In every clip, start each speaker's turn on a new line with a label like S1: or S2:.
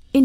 S1: verscheen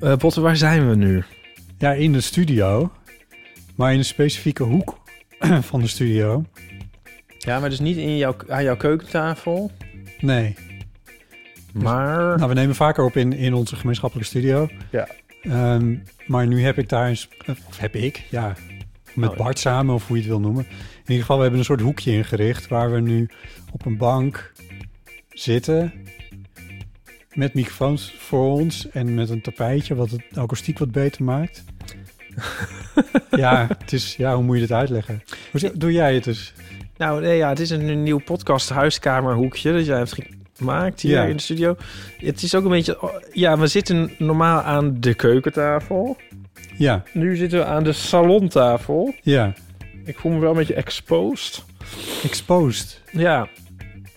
S2: Eh Botte, waar zijn we nu?
S3: Ja, in de studio. Maar in een specifieke hoek van de studio.
S2: Ja, maar dus niet in jouw, aan jouw keukentafel,
S3: Nee.
S2: maar...
S3: Nou, we nemen vaker op in, in onze gemeenschappelijke studio.
S2: Ja.
S3: Ehm, maar nu heb ik daar eens... Of heb ik, ja. Met
S2: Oh, ja.
S3: Bart samen, of hoe je het wil noemen. In ieder geval, we hebben een soort hoekje ingericht... waar we nu op een bank zitten... met microfoons voor ons... en met een tapijtje wat het akoestiek wat beter maakt. ja, het is, ja, hoe moet je dit uitleggen? Hoe, doe jij het dus?
S2: Nou, nee, ja, het is een, een nieuw podcast huiskamerhoekje dat jij hebt gemaakt hier
S3: Ja.
S2: in de studio. Het is ook een beetje... oh, Ja, we zitten normaal aan de keukentafel.
S3: Ja,
S2: Nu zitten we aan de salontafel.
S3: ja.
S2: Ik voel me wel een beetje exposed.
S3: Exposed.
S2: Ja.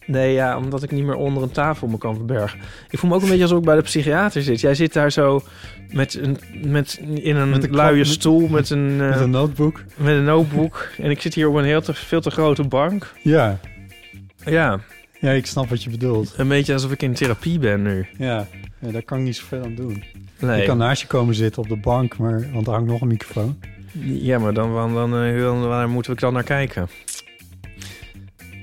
S2: Nee, ja, omdat ik niet meer onder een tafel me kan verbergen. Ik voel me ook een beetje alsof ik bij de psychiater zit. Jij zit daar zo met een, met, in een,
S3: Met een klap-
S2: luie
S3: met-
S2: stoel met een, eh,
S3: Met een notebook.
S2: met een notebook. en ik zit hier op een heel te, veel te grote bank.
S3: Ja.
S2: Ja,
S3: ja, ik snap wat je bedoelt.
S2: een beetje alsof ik in therapie ben nu.
S3: Ja, ja daar kan ik niet zoveel aan doen.
S2: Nee.
S3: Ik kan naast je komen zitten op de bank, maar, want er hangt nog een microfoon.
S2: Ja, maar dan, dan, dan, eh, dan- waar moeten we dan naar kijken?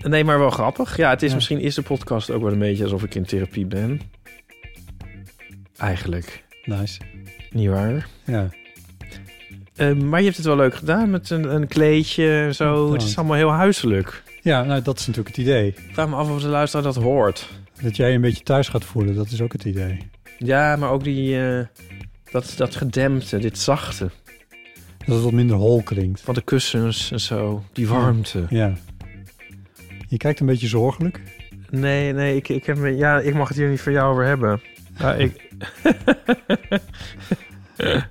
S2: Nee, maar wel grappig. Ja, het is
S3: Ja.
S2: misschien is de podcast ook wel een beetje alsof ik in therapie ben. Eigenlijk.
S3: Nice.
S2: Niet waar?
S3: Ja,
S2: Eh, maar je hebt het wel leuk gedaan met een, een kleedje en zo.
S3: Ja,
S2: het is allemaal heel huiselijk.
S3: ja nou, dat is natuurlijk het idee.
S2: Ik vraag me af of de luisteraar dat hoort.
S3: Dat jij je een beetje thuis gaat voelen, dat is ook het idee.
S2: Ja, maar ook die, eh, dat, dat gedempte, dit zachte.
S3: Dat het wat minder hol klinkt.
S2: Van de kussens en zo, die warmte.
S3: Ja. Je kijkt een beetje zorgelijk.
S2: Nee, nee, ik, ik, heb, me- ja, ik mag het hier niet voor jou over hebben. Maar ik...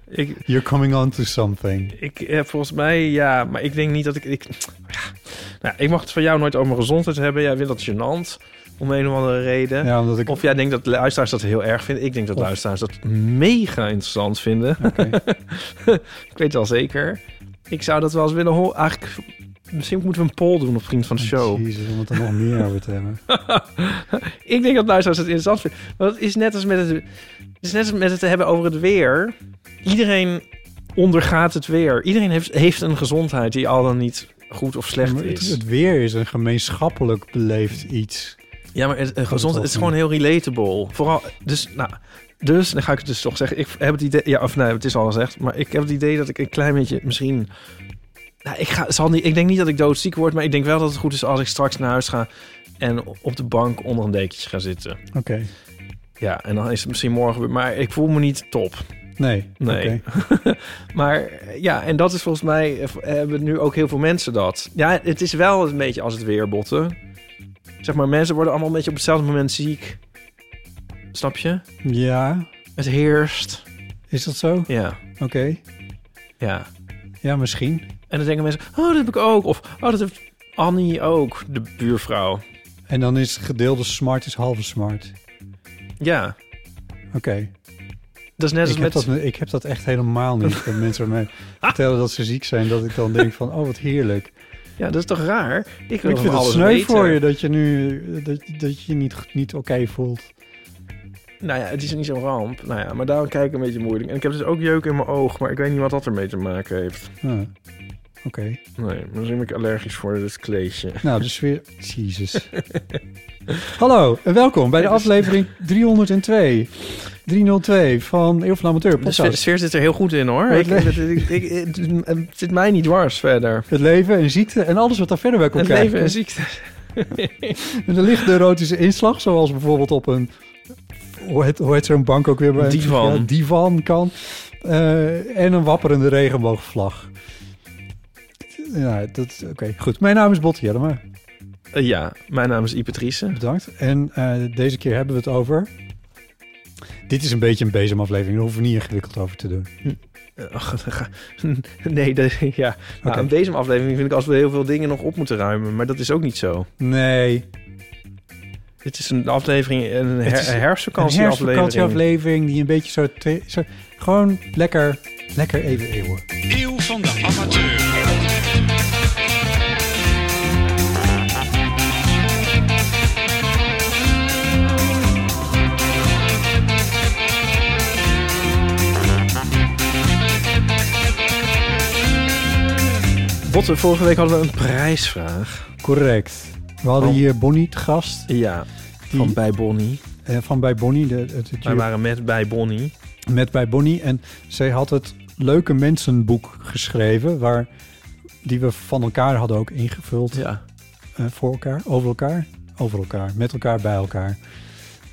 S2: ik,
S3: You're coming on to something.
S2: ik heb volgens mij, ja, maar ik denk niet dat ik... ik ja. Nou, ik mag het van jou nooit over mijn gezondheid hebben. Jij vindt dat gênant, om een of andere reden.
S3: Ja, omdat ik...
S2: Of jij denkt dat luisteraars dat heel erg vinden. Ik denk dat
S3: Of-
S2: luisteraars dat mega interessant vinden.
S3: Oké.
S2: Ik weet het wel zeker. Ik zou dat wel eens willen horen. Eigenlijk, misschien moeten we een poll doen op Vriend van de Show.
S3: Jezus, om het er nog meer over te hebben.
S2: ik denk dat luisteraars het interessant vinden. Want het is net als met het, het, is net als met het hebben over het weer. Iedereen ondergaat het weer. Iedereen heeft, heeft een gezondheid die al dan niet goed of slecht
S3: Maar het,
S2: is.
S3: het weer is een gemeenschappelijk beleefd iets.
S2: Ja, maar het, eh, gezond,
S3: wel
S2: het is
S3: zien.
S2: gewoon heel relatable. Vooral, dus, nou, dus, dan ga ik het dus toch zeggen. Ik heb het idee, ja, of nee, het is al gezegd. Maar ik heb het idee dat ik een klein beetje misschien... Nou, ik, ga, zal niet, ik denk niet dat ik doodziek word, maar ik denk wel dat het goed is als ik straks naar huis ga... en op de bank onder een dekentje ga zitten.
S3: Oké.
S2: Ja, en dan is het misschien morgen weer... Maar ik voel me niet top.
S3: Nee.
S2: Nee.
S3: Oké.
S2: Maar eh, ja, en dat is volgens mij... eh, hebben nu ook heel veel mensen dat. Ja, het is wel een beetje als het weer botten. Zeg maar, mensen worden allemaal een beetje op hetzelfde moment ziek. Snap je?
S3: Ja,
S2: Het heerst.
S3: is dat zo?
S2: Ja,
S3: Oké.
S2: ja.
S3: Ja, misschien.
S2: En dan denken mensen, oh, dat heb ik ook. Of, oh, dat heeft Annie ook, de buurvrouw.
S3: En dan is gedeelde smart is halve smart.
S2: Ja,
S3: Oké.
S2: dat is net als
S3: Ik, heb
S2: dus met...
S3: dat- ik heb dat echt helemaal niet. Dat mensen mij vertellen dat ze ziek zijn. Dat ik dan denk van, oh wat heerlijk.
S2: Ja, dat is toch raar? Ik wil
S3: ik vind
S2: van
S3: het
S2: alles
S3: sneu
S2: weten.
S3: voor je dat je nu dat, dat je je niet, goed- niet oké voelt.
S2: Nou ja, het is niet zo'n ramp. Nou ja, maar daarom kijk ik een beetje moeilijk. En ik heb dus ook jeuk in mijn oog, maar ik weet niet wat dat ermee te maken heeft.
S3: Ja. Oké. Ah. Oké.
S2: Nee, misschien ben ik allergisch voor dit kleedje.
S3: Nou, dus weer... Jezus. Hallo en welkom bij de aflevering 302. 302 van Eeuw van Amateur
S2: De sfeer,
S3: podcast.
S2: sfeer zit er heel goed in hoor. Ik,
S3: Wat
S2: ik, ik- ik- het zit mij niet dwars verder.
S3: Het leven en ziekte en alles wat daar verder bij komt
S2: Het
S3: kijken.
S2: leven en ziekte.
S3: Met een lichte erotische inslag, zoals bijvoorbeeld op een... Hoe heet, hoe heet zo'n bank ook weer? Bij,
S2: Divan.
S3: Ja, divan kan. Eh, en een wapperende regenboogvlag. Ja, dat... Oké, goed. Mijn naam is Botte Jellema.
S2: Eh, ja, mijn naam is Ipatrice.
S3: Bedankt. En eh, deze keer hebben we het over... Dit is een beetje een bezemaflevering. Daar hoeven we niet ingewikkeld over te doen.
S2: Ach, dat Eh, oh, ga- nee, dat- ja. Nou,
S3: Oké.
S2: aan deze aflevering vind ik als we heel veel dingen nog op moeten ruimen. Maar dat is ook niet zo.
S3: Nee.
S2: Dit is een aflevering, een,
S3: Het
S2: her,
S3: is een
S2: een
S3: Een
S2: herfstvakantieaflevering.
S3: herfstvakantieaflevering die een beetje zo... te- zo gewoon lekker, lekker even eeuwen.
S4: Eeuw van de amateur.
S2: Botte, vorige week hadden we een prijsvraag.
S3: Correct. We hadden
S2: Oh.
S3: hier Bonnie te gast.
S2: Ja,
S3: Die,
S2: van bij Bonnie.
S3: eh, van bij Bonnie. De, het, het
S2: Wij
S3: duo
S2: waren met bij Bonnie.
S3: met bij Bonnie. En zij had het Leuke Mensenboek geschreven. Waar, die we van elkaar hadden ook ingevuld.
S2: Ja.
S3: Eh, voor elkaar, over elkaar, over elkaar, met elkaar, bij elkaar.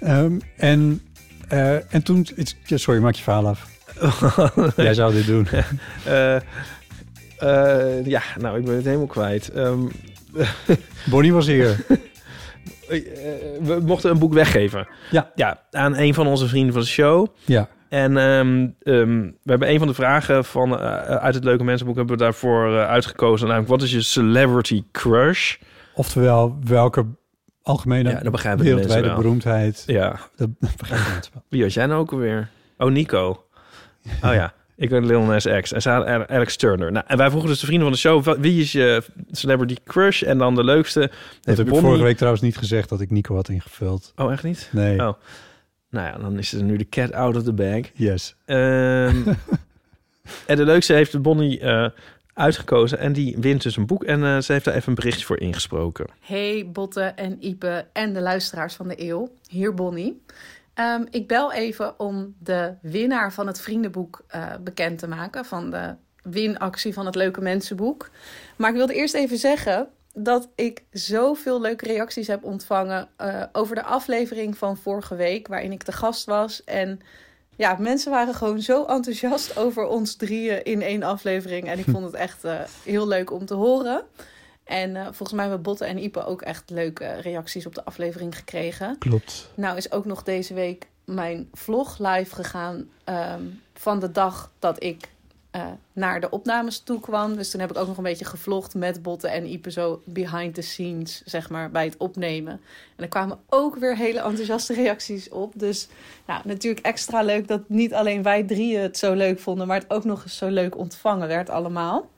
S3: Ehm, en, eh, en toen... het- ja, sorry, maak je verhaal af. Jij zou dit doen.
S2: Eh, eh, ja, nou, ik ben het helemaal kwijt. Ehm,
S3: Bonnie was hier.
S2: eh, eh, we mochten een boek weggeven.
S3: Ja.
S2: ja. Aan een van onze vrienden van de show.
S3: Ja,
S2: En ehm, ehm, we hebben een van de vragen van, eh, uit het Leuke Mensenboek hebben we daarvoor eh, uitgekozen. Namelijk, wat is je celebrity crush?
S3: oftewel welke algemene
S2: Ja, dat begrijpen de
S3: wereldwijde
S2: mensen wel.
S3: beroemdheid.
S2: Ja.
S3: Dat begrijpen mensen wel.
S2: Wie was jij nou ook alweer? Oh, Nico. Oh ja, ik ben Lil Nas X. En ze hadden Ale- Alex Turner. Nou, en wij vroegen dus de vrienden van de show, wa- wie is je celebrity crush? En dan de leukste.
S3: Dat
S2: heeft
S3: heb ik
S2: Bonnie-
S3: vorige week trouwens niet gezegd dat ik Nico had ingevuld.
S2: Oh, echt niet?
S3: Nee.
S2: Oh. Nou ja, dan is het nu de cat out of the bag.
S3: Yes.
S2: Ehm, en de leukste heeft Bonnie eh, uitgekozen. En die wint dus een boek. En eh, ze heeft daar even een berichtje voor ingesproken.
S5: Hey Botte en Ipe en de luisteraars van de eeuw. Hier Bonnie. Ehm, ik bel even om de winnaar van het vriendenboek eh, bekend te maken. Van de winactie van het Leuke Mensenboek. Maar ik wilde eerst even zeggen dat ik zoveel leuke reacties heb ontvangen... eh, over de aflevering van vorige week waarin ik te gast was. En ja, mensen waren gewoon zo enthousiast over ons drieën in één aflevering. En ik vond het echt eh, heel leuk om te horen. En eh, volgens mij hebben Botte en Ipe ook echt leuke eh, reacties op de aflevering gekregen.
S3: Klopt.
S5: Nou is ook nog deze week mijn vlog live gegaan ehm, van de dag dat ik eh, naar de opnames toe kwam. Dus toen heb ik ook nog een beetje gevlogd met Botte en Ipe zo behind the scenes, zeg maar, bij het opnemen. En er kwamen ook weer hele enthousiaste reacties op. Dus nou, natuurlijk extra leuk dat niet alleen wij drieën het zo leuk vonden, maar het ook nog eens zo leuk ontvangen werd allemaal.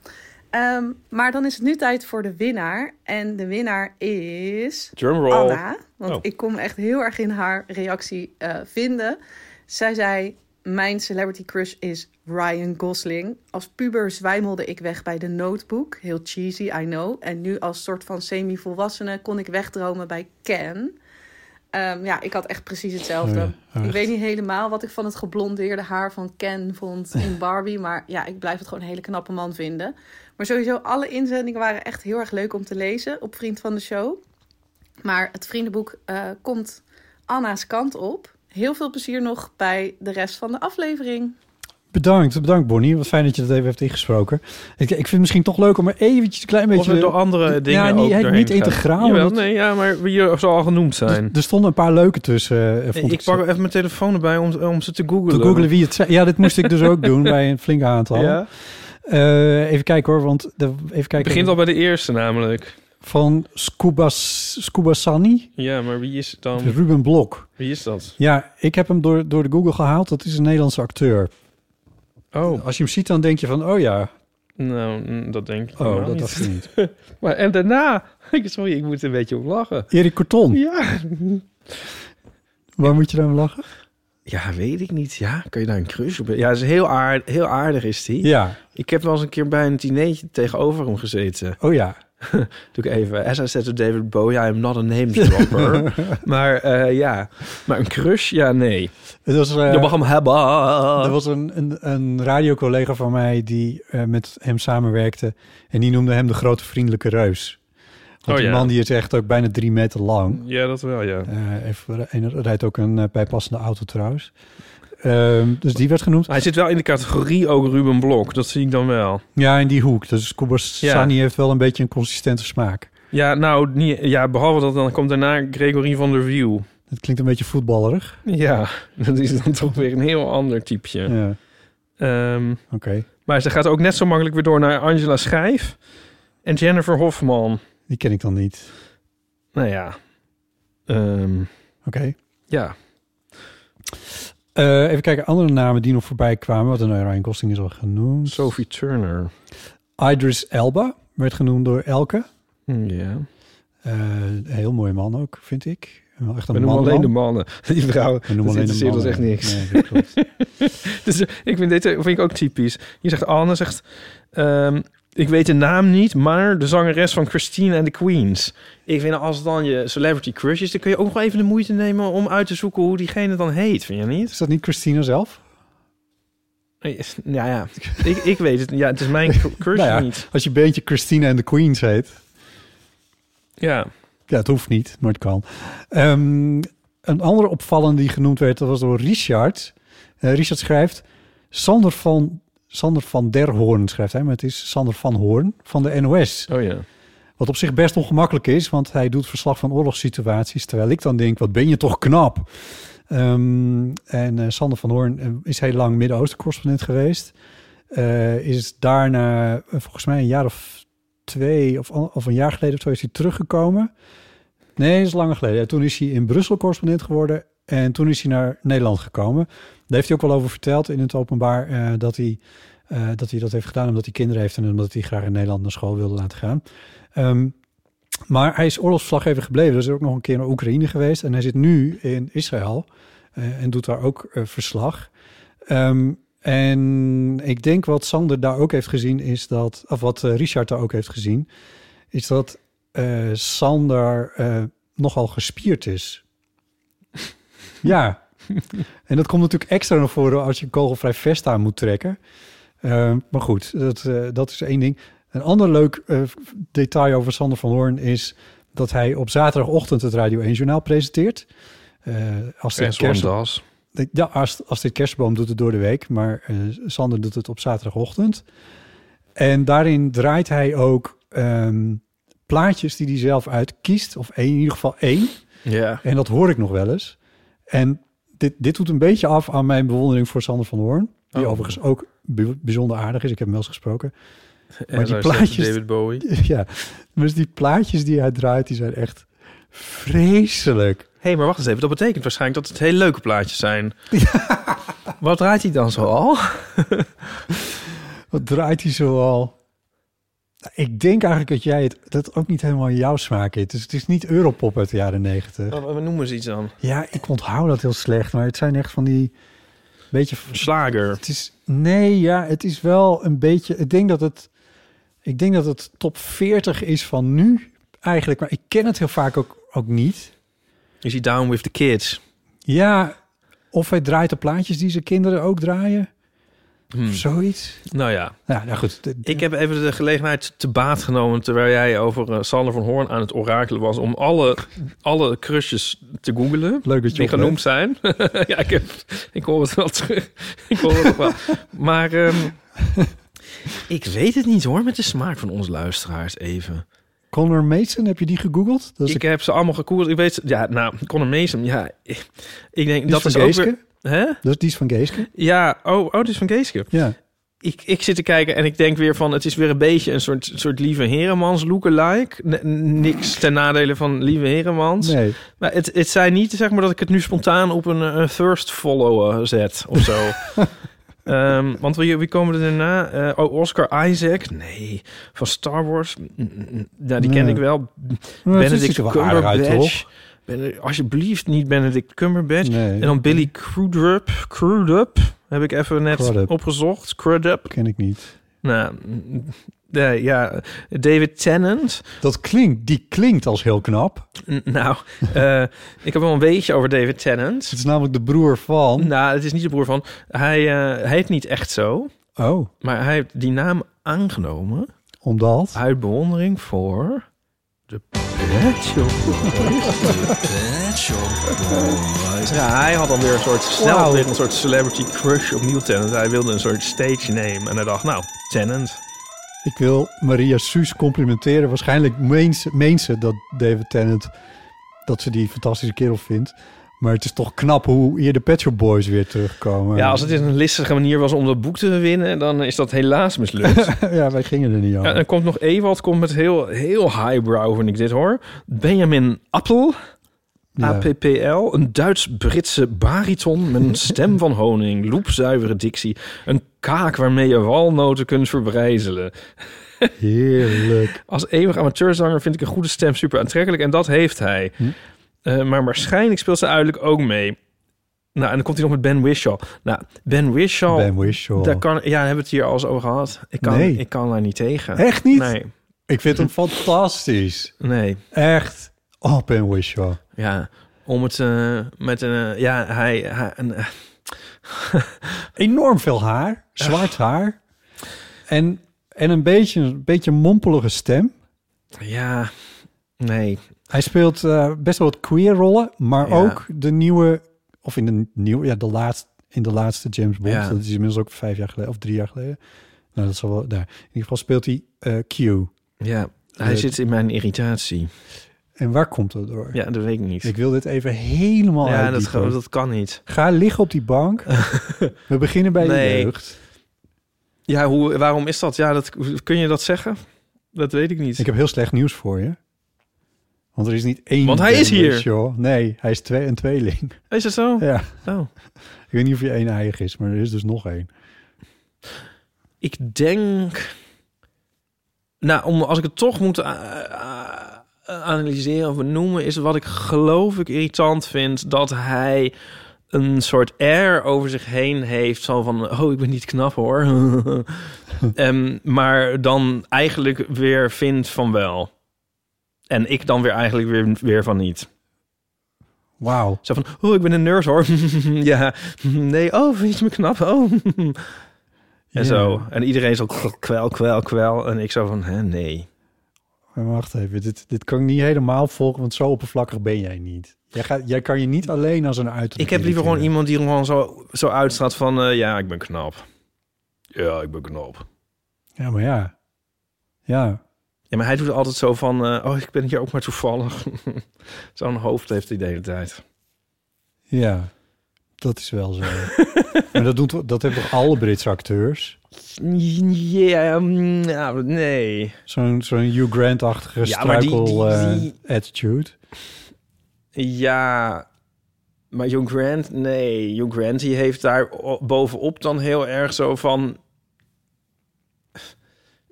S5: Ehm, maar dan is het nu tijd voor de winnaar. En de winnaar is...
S2: Drumroll.
S5: Anna, want
S2: Oh.
S5: ik kon me echt heel erg in haar reactie eh, vinden. Zij zei: Mijn celebrity crush is Ryan Gosling. Als puber zwijmelde ik weg bij de notebook. Heel cheesy, I know. En nu als soort van semi-volwassene kon ik wegdromen bij Ken. Ehm, ja, ik had echt precies hetzelfde.
S3: Oh ja, echt.
S5: ik weet niet helemaal wat ik van het geblondeerde haar van Ken vond in Barbie. Maar ja, ik blijf het gewoon een hele knappe man vinden. Maar sowieso, alle inzendingen waren echt heel erg leuk om te lezen op Vriend van de Show. Maar het vriendenboek eh, komt Anna's kant op. Heel veel plezier nog bij de rest van de aflevering.
S3: Bedankt, bedankt Bonnie. Wat fijn dat je dat even hebt ingesproken. Ik, ik vind het misschien toch leuk om er eventjes een klein
S2: Of
S3: beetje...
S2: we door andere dingen
S3: ja, niet,
S2: ook
S3: hij-
S2: doorheen
S3: niet
S2: te gaan.
S3: integraal.
S2: Jawel,
S3: want- Dus
S2: nee, ja, maar hier zal al genoemd zijn.
S3: Er, er stonden een paar leuke tussen. eh,
S2: ik
S3: vond ik
S2: pak even mijn telefoon erbij om, om ze te googlen.
S3: te googlen wie het zei. Ja, dit moest ik dus ook doen bij een flink aantal.
S2: Ja.
S3: Eh, even kijken hoor, want de, even kijken.
S2: Het begint al bij de eerste namelijk.
S3: Van Scuba, Scuba Sunny,
S2: Ja, maar wie is het dan?
S3: Ruben Blok.
S2: Wie is dat?
S3: Ja, ik heb hem door, door de Google gehaald. Dat is een Nederlandse acteur.
S2: Oh,
S3: Als je hem ziet, dan denk je van, oh ja,
S2: nou, mm, dat denk ik
S3: oh,
S2: helemaal
S3: dat
S2: niet.
S3: dacht ik niet.
S2: Maar, en daarna... Sorry, ik moet er een beetje op lachen.
S3: Erik Corton,
S2: Ja,
S3: waar moet je dan om lachen?
S2: Ja, weet ik niet. Ja, kun je daar een crush op? Ja, is heel, aard, heel aardig is die.
S3: Ja.
S2: Ik heb wel eens een keer bij een dineetje tegenover hem gezeten.
S3: Oh ja.
S2: Doe ik even. As I said to David Bowie, I am not a name dropper. maar eh, ja, maar een crush? Ja, nee.
S3: Het was, eh,
S2: Je mag hem hebben.
S3: Er was een, een, een radiocollega van mij die eh, met hem samenwerkte. En die noemde hem de grote vriendelijke reus. Want
S2: Oh
S3: die
S2: ja.
S3: man die is echt ook bijna drie meter lang.
S2: Ja, dat wel, ja.
S3: Eh, even, voor de- en er rijdt ook een eh, bijpassende auto trouwens. Ehm, dus die werd genoemd.
S2: Hij zit wel in de categorie ook Ruben Blok. Dat zie ik dan wel.
S3: Ja, in die hoek. Dus Kubasani heeft wel een beetje een consistente smaak.
S2: Ja, nou, niet, ja, behalve dat dan komt daarna Gregory van der Wiel.
S3: Dat klinkt een beetje voetballerig.
S2: Ja, dat is dan toch weer een heel ander
S3: Ja,
S2: typeje.
S3: oké.
S2: Ehm, maar ze gaat ook net zo makkelijk weer door naar Angela Schijf en Jennifer Hofman.
S3: Die ken ik dan niet.
S2: Nou ja, ehm,
S3: Oké.
S2: ja.
S3: Eh, even kijken, andere namen die nog voorbij kwamen. Wat een eh, Ryan Gosling is al genoemd.
S2: Sophie Turner.
S3: Idris Elba werd genoemd door Elke.
S2: Hm, Ja,
S3: Eh, een heel mooie man ook, vind ik. Wel Echt
S2: we
S3: een
S2: noemen
S3: man.
S2: alleen de mannen. Die vrouwen,
S3: We
S2: dat
S3: noemen alleen de
S2: interesseert ons echt
S3: mannen.
S2: niks.
S3: Nee, dat klopt.
S2: Dus eh, ik vind dit eh, vind ik ook typisch. Je zegt Anne zegt, ehm, ik weet de naam niet, maar de zangeres van Christine and the Queens. Ik vind als het dan je celebrity crush is, dan kun je ook nog even de moeite nemen om uit te zoeken hoe diegene dan heet. Vind je niet?
S3: is dat niet Christina zelf?
S2: Eh, Nou ja, ik, ik weet het. Ja, het is mijn cr- crush
S3: Nou ja,
S2: niet.
S3: Als je beentje Christina en de Queens heet.
S2: Ja.
S3: Ja, het hoeft niet, maar het kan. Ehm, een andere opvallende die genoemd werd, dat was door Richard. Eh, Richard schrijft, Sander van, Sander van der Hoorn schrijft hij, maar het is Sander van Hoorn van de NOS.
S2: Oh ja.
S3: Wat op zich best ongemakkelijk is, want hij doet verslag van oorlogssituaties. Terwijl ik dan denk, wat ben je toch knap. Ehm, en eh, Sander van Hoorn eh, is heel lang Midden-Oosten correspondent geweest. Eh, is daarna eh, volgens mij een jaar of twee of, an- of een jaar geleden of zo is hij teruggekomen. Nee, dat is langer geleden. Ja, Toen is hij in Brussel correspondent geworden en toen is hij naar Nederland gekomen. Daar heeft hij ook wel over verteld in het openbaar eh, dat, hij, eh, dat hij dat heeft gedaan omdat hij kinderen heeft en omdat hij graag in Nederland naar school wilde laten gaan. Ehm, maar hij is oorlogsverslaggever gebleven. Dus hij is ook nog een keer naar Oekraïne geweest. En hij zit nu in Israël eh, en doet daar ook eh, verslag. Ehm, en ik denk wat Sander daar ook heeft gezien is dat... of wat eh, Richard daar ook heeft gezien... is dat eh, Sander eh, nogal gespierd is. ja. En dat komt natuurlijk extra naar voren als je een kogelvrij vest aan moet trekken. Ehm, maar goed, dat, eh, dat is één ding. Een ander leuk eh, detail over Sander van Hoorn is dat hij op zaterdagochtend het Radio 1 Journaal presenteert. Eh als de
S2: En
S3: kerst,
S2: das.
S3: de- Ja, als, als dit kerstboom doet het door de week, maar eh, Sander doet het op zaterdagochtend. En daarin draait hij ook ehm, plaatjes die hij zelf uitkiest, of één, in ieder geval één.
S2: Ja.
S3: En dat hoor ik nog wel eens. En dit, dit doet een beetje af aan mijn bewondering voor Sander van Hoorn. Die
S2: Oh.
S3: overigens ook bij- bijzonder aardig is. Ik heb hem wel eens gesproken.
S2: En
S3: die
S2: daar staat
S3: plaatjes-
S2: David Bowie.
S3: Ja, dus die plaatjes die hij draait, die zijn echt vreselijk.
S2: Hé, hey, maar wacht eens even. Dat betekent waarschijnlijk dat het hele leuke plaatjes zijn. Wat draait hij dan zo al?
S3: Wat draait hij zoal? Nou, Ik denk eigenlijk dat jij het dat ook niet helemaal in jouw smaak is. Dus het is niet Europop uit de jaren negentig.
S2: We noemen ze iets dan.
S3: Ja, ik onthoud dat heel slecht, maar het zijn echt van die beetje.
S2: Slager.
S3: Het is nee, ja, het is wel een beetje. Ik denk dat het, ik denk dat het top 40 is van nu eigenlijk, maar ik ken het heel vaak ook, ook niet.
S2: Is hij down with the kids?
S3: Ja, of hij draait de plaatjes die zijn kinderen ook draaien,
S2: Hmm.
S3: of zoiets.
S2: Nou ja,
S3: Nou, nou goed. d- d-
S2: ik heb even de gelegenheid te baat genomen... terwijl jij over eh, Sander van Hoorn aan het orakelen was... om alle, alle crushes te googelen.
S3: Leuk dat je
S2: Die
S3: oplet.
S2: genoemd zijn. ja, ik, heb, ik hoor het wel terug. ik hoor het wel. Maar ehm, ik weet het niet hoor, met de smaak van onze luisteraars even.
S3: Connor Mason, heb je die gegoogeld? Dat is
S2: ik heb ze allemaal gekoeld. Ik weet, ja, nou, Conor Mason, ja. Ik, ik denk,
S3: Die
S2: dat is
S3: van
S2: ook
S3: Geeske?
S2: weer... Hè?
S3: Dat is die is van Geeske.
S2: Ja, oh, oh, dit is van Geeske.
S3: Ja.
S2: ik, ik zit te kijken en ik denk weer van... het is weer een beetje een soort, soort Lieve Heremans lookalike. N- niks ten nadele van Lieve Heremans.
S3: Nee.
S2: Maar het, het zijn niet zeg maar, dat ik het nu spontaan op een, eh, thirst follower zet of zo. Ehm, want wie, wie komen er daarna? Eh, oh, Oscar Isaac. Nee, van Star Wars. Mm, mm, mm. Nou, die ken
S3: Nee.
S2: ik wel.
S3: Nou, het
S2: Benedict
S3: ziet er wel aardig uit,
S2: Cumberbatch. Bene- alsjeblieft niet Benedict Cumberbatch.
S3: Nee.
S2: En dan Billy Crudup. Crudup heb ik even net
S3: Crudup.
S2: opgezocht. Crudup.
S3: Ken ik niet.
S2: Nou, mm, nee, ja. David Tennant.
S3: Dat klinkt, die klinkt als heel knap.
S2: N- Nou, eh, ik heb wel een weetje over David Tennant.
S3: Het is namelijk de broer van...
S2: Nou, het is niet de broer van. Hij eh, heet niet echt zo,
S3: Oh,
S2: maar hij heeft die naam aangenomen
S3: omdat...
S2: uit bewondering voor de Pet Shop Boys. De Pet Shop Boys. Ja, hij had alweer een soort snel
S3: Wauw.
S2: weer een soort celebrity crush op Neil Tennant. Hij wilde een soort stage name en hij dacht, nou, Tennant.
S3: Ik wil Maria Suus complimenteren. Waarschijnlijk meent ze- meent ze dat David Tennant... dat ze die fantastische kerel vindt. Maar het is toch knap hoe hier de Pet Shop Boys weer terugkomen.
S2: Ja, als het in een listige manier was om dat boek te winnen, dan is dat helaas mislukt.
S3: ja wij gingen er niet aan.
S2: Ja, en dan komt nog Ewald komt met heel, heel highbrow, vind ik dit hoor. Benjamin Appel,
S3: Ja.
S2: APPL, een Duits-Britse bariton met een stem van honing, loepzuivere dictie, een kaak waarmee je walnoten kunt verbrijzelen.
S3: Heerlijk.
S2: Als eeuwig amateurzanger vind ik een goede stem super aantrekkelijk en dat heeft hij.
S3: Hm.
S2: Eh, maar waarschijnlijk speelt ze uiterlijk ook mee. Nou, en dan komt hij nog met Ben Whishaw. Nou, Ben Whishaw,
S3: ben Whishaw.
S2: daar kan, ja, daar hebben we het hier al eens over gehad. Ik kan,
S3: Nee.
S2: ik kan daar niet tegen.
S3: Echt niet?
S2: Nee,
S3: Ik vind hem fantastisch.
S2: nee.
S3: Echt. Oh, Ben Whishaw.
S2: Ja, om het eh, met een... eh, ja, hij... hij een, eh,
S3: Enorm veel haar. Zwart haar. En, en een beetje een beetje mompelige stem.
S2: ja, nee.
S3: Hij speelt eh, best wel wat queer rollen, maar
S2: Ja.
S3: ook de nieuwe, of in de nieuwe, ja, de laatste, in de laatste James Bond.
S2: Ja.
S3: Dat is inmiddels ook vijf jaar geleden of drie jaar geleden. Nou, dat zal wel daar. In ieder geval speelt hij eh, Q.
S2: Ja, hij
S3: Het-
S2: zit in mijn irritatie.
S3: En waar komt dat door?
S2: Ja, dat weet ik niet.
S3: Ik wil dit even helemaal
S2: ja, dat,
S3: uitdiepen.
S2: ge- dat kan niet.
S3: Ga liggen op die bank. We beginnen bij
S2: Nee.
S3: de jeugd.
S2: Ja, hoe, waarom is dat? Ja, dat, kun je dat zeggen? Dat weet ik niet.
S3: Ik heb heel slecht nieuws voor je. Want er is niet één...
S2: Want hij is
S3: Ben
S2: hier.
S3: Whishaw. Nee, hij is twee, een tweeling.
S2: Is het zo?
S3: Ja.
S2: Oh.
S3: Ik weet niet of je één eigen is, maar er is dus nog één.
S2: Ik denk... Nou, om, als ik het toch moet eh, eh, analyseren of noemen... is wat ik geloof ik irritant vind... dat hij een soort air over zich heen heeft. Zo van, oh, ik ben niet knap hoor. Ehm, maar dan eigenlijk weer vindt van wel. En ik dan weer eigenlijk weer, weer van niet.
S3: Wauw.
S2: Zo van, oh, ik ben een nerd hoor. ja, nee, oh, vind je me knap? Oh. en zo. En iedereen zo kwel, kwel, kwel. En ik zo van, hè, nee.
S3: Maar wacht even, dit, dit kan ik niet helemaal volgen, want zo oppervlakkig ben jij niet. Jij, gaat, jij kan je niet alleen als een uiterlijk
S2: Ik heb liever gewoon
S3: irriteren.
S2: iemand die gewoon zo, zo uitstraat van, eh, ja, ik ben knap. Ja, ik ben knap.
S3: Ja, maar ja. Ja.
S2: Ja, maar hij doet altijd zo van, eh, oh, ik ben hier ook maar toevallig. Zo'n hoofd heeft hij de hele tijd.
S3: Ja. Dat is wel zo. maar dat, doet, dat hebben toch alle Britse acteurs?
S2: Ja, mm, nou, nee.
S3: Zo'n zo'n Hugh Grant-achtige eh,
S2: Ja, maar die- die- die-
S3: struikel-attitude.
S2: Ja, maar Hugh Grant, nee. Hugh Grant, die heeft daar o- bovenop dan heel erg zo van...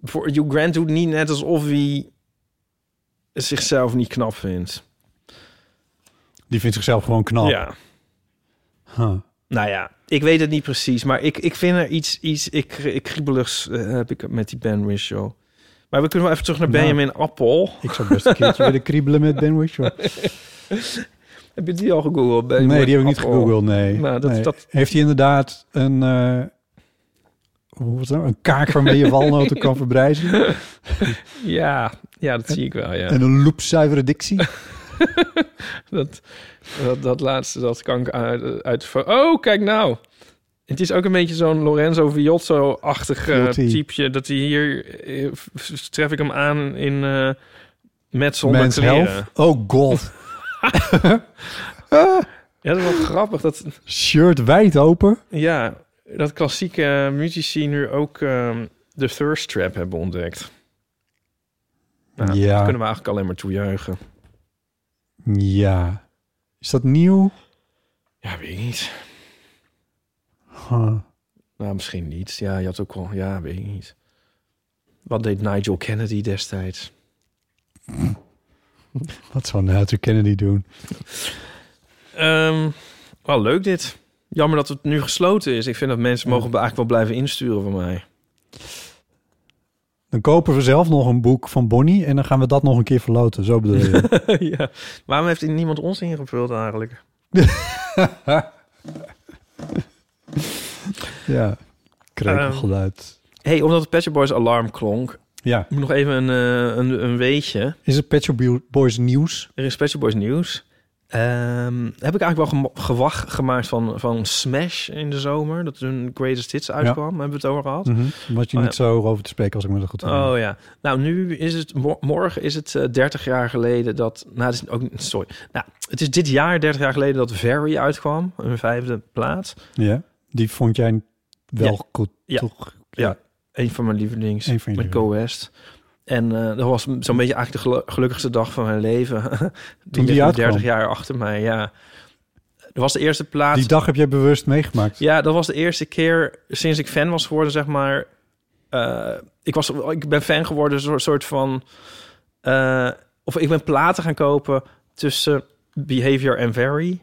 S2: Voor Hugh Grant doet niet net alsof hij zichzelf niet knap vindt.
S3: die vindt zichzelf gewoon knap.
S2: Ja.
S3: Huh.
S2: Nou ja, ik weet het niet precies, maar ik, ik vind er iets, iets ik, ik kriebeligs eh, heb ik met die Ben Whishaw. Maar we kunnen wel even terug naar
S3: Nou.
S2: Benjamin Appel.
S3: Ik zou best een keertje willen kriebelen met Ben Whishaw.
S2: Heb je die al gegoogeld?
S3: Nee,
S2: Benjamin
S3: die heb ik niet
S2: Appel?
S3: gegoogeld, nee.
S2: Nou, dat-
S3: Nee.
S2: dat-
S3: Heeft hij inderdaad een, eh, hoe was het nou? een kaak waarmee je walnoten kan verbrijzelen?
S2: Ja, ja, dat zie ik wel, ja.
S3: En een loepzuivere dictie?
S2: Dat, dat, dat laatste, dat kan ik uit... uit oh, kijk nou. Het is ook een beetje zo'n Lorenzo Viotto-achtig eh,
S3: Viotti.
S2: typeje. Dat hij hier... eh, f- tref ik hem aan in... eh met zonder
S3: Men's
S2: kleren.
S3: health? Oh god.
S2: Ja, dat is wel grappig. Dat,
S3: Shirt wijd open.
S2: ja, dat klassieke muzici nu ook ehm, de thirst trap hebben ontdekt. Nou,
S3: Ja.
S2: Dat kunnen we eigenlijk alleen maar toejuichen.
S3: Ja. Is dat nieuw?
S2: Ja, weet ik niet.
S3: Huh.
S2: Nou, misschien niet. Ja, je had ook wel... Ja, weet ik niet. Wat deed Nigel Kennedy destijds?
S3: Wat zou Nigel Kennedy doen?
S2: Ehm, wel leuk dit. Jammer dat het nu gesloten is. Ik vind dat mensen mogen eigenlijk wel blijven insturen van mij.
S3: Dan kopen we zelf nog een boek van Bonnie en dan gaan we dat nog een keer verloten. Zo bedoel je.
S2: ja. Waarom heeft niemand ons ingevuld eigenlijk?
S3: ja. Krekelgeluid.
S2: hey, omdat het Patch Up Boys alarm klonk...
S3: Ja.
S2: moet nog even een, eh, een, een weetje.
S3: Is het Pet Shop Bo- Boys nieuws?
S2: Er is Patch Up Boys nieuws. Ehm, heb ik eigenlijk wel gemo- gewacht gemaakt van, van Smash in de zomer. Dat hun Greatest Hits uitkwam. Hebben we het over gehad?
S3: Mhm. Wat je
S2: Oh,
S3: niet zo over te spreken als ik me dat goed herinner.
S2: Oh ja. Nou, nu is het mor- morgen is het eh, 30 jaar geleden dat. Nou, het is ook niet- sorry. Nou, het is dit jaar 30 jaar geleden dat Very uitkwam, hun vijfde plaats.
S3: Ja. Die vond jij wel
S2: Ja.
S3: goed,
S2: Ja.
S3: toch?
S2: Ja, een van mijn lievelings
S3: Eén van je
S2: met Go West. En eh, dat was zo'n beetje eigenlijk de gelu- gelukkigste dag van mijn leven.
S3: die
S2: die ligt nu
S3: uitkwam.
S2: 30 jaar achter mij. Ja, dat was de eerste plaats.
S3: Die dag heb jij bewust meegemaakt.
S2: Ja, dat was de eerste keer sinds ik fan was geworden, zeg maar. Eh, ik, was, ik ben fan geworden, een soort- soort van. eh, of ik ben platen gaan kopen tussen Behavior en Very.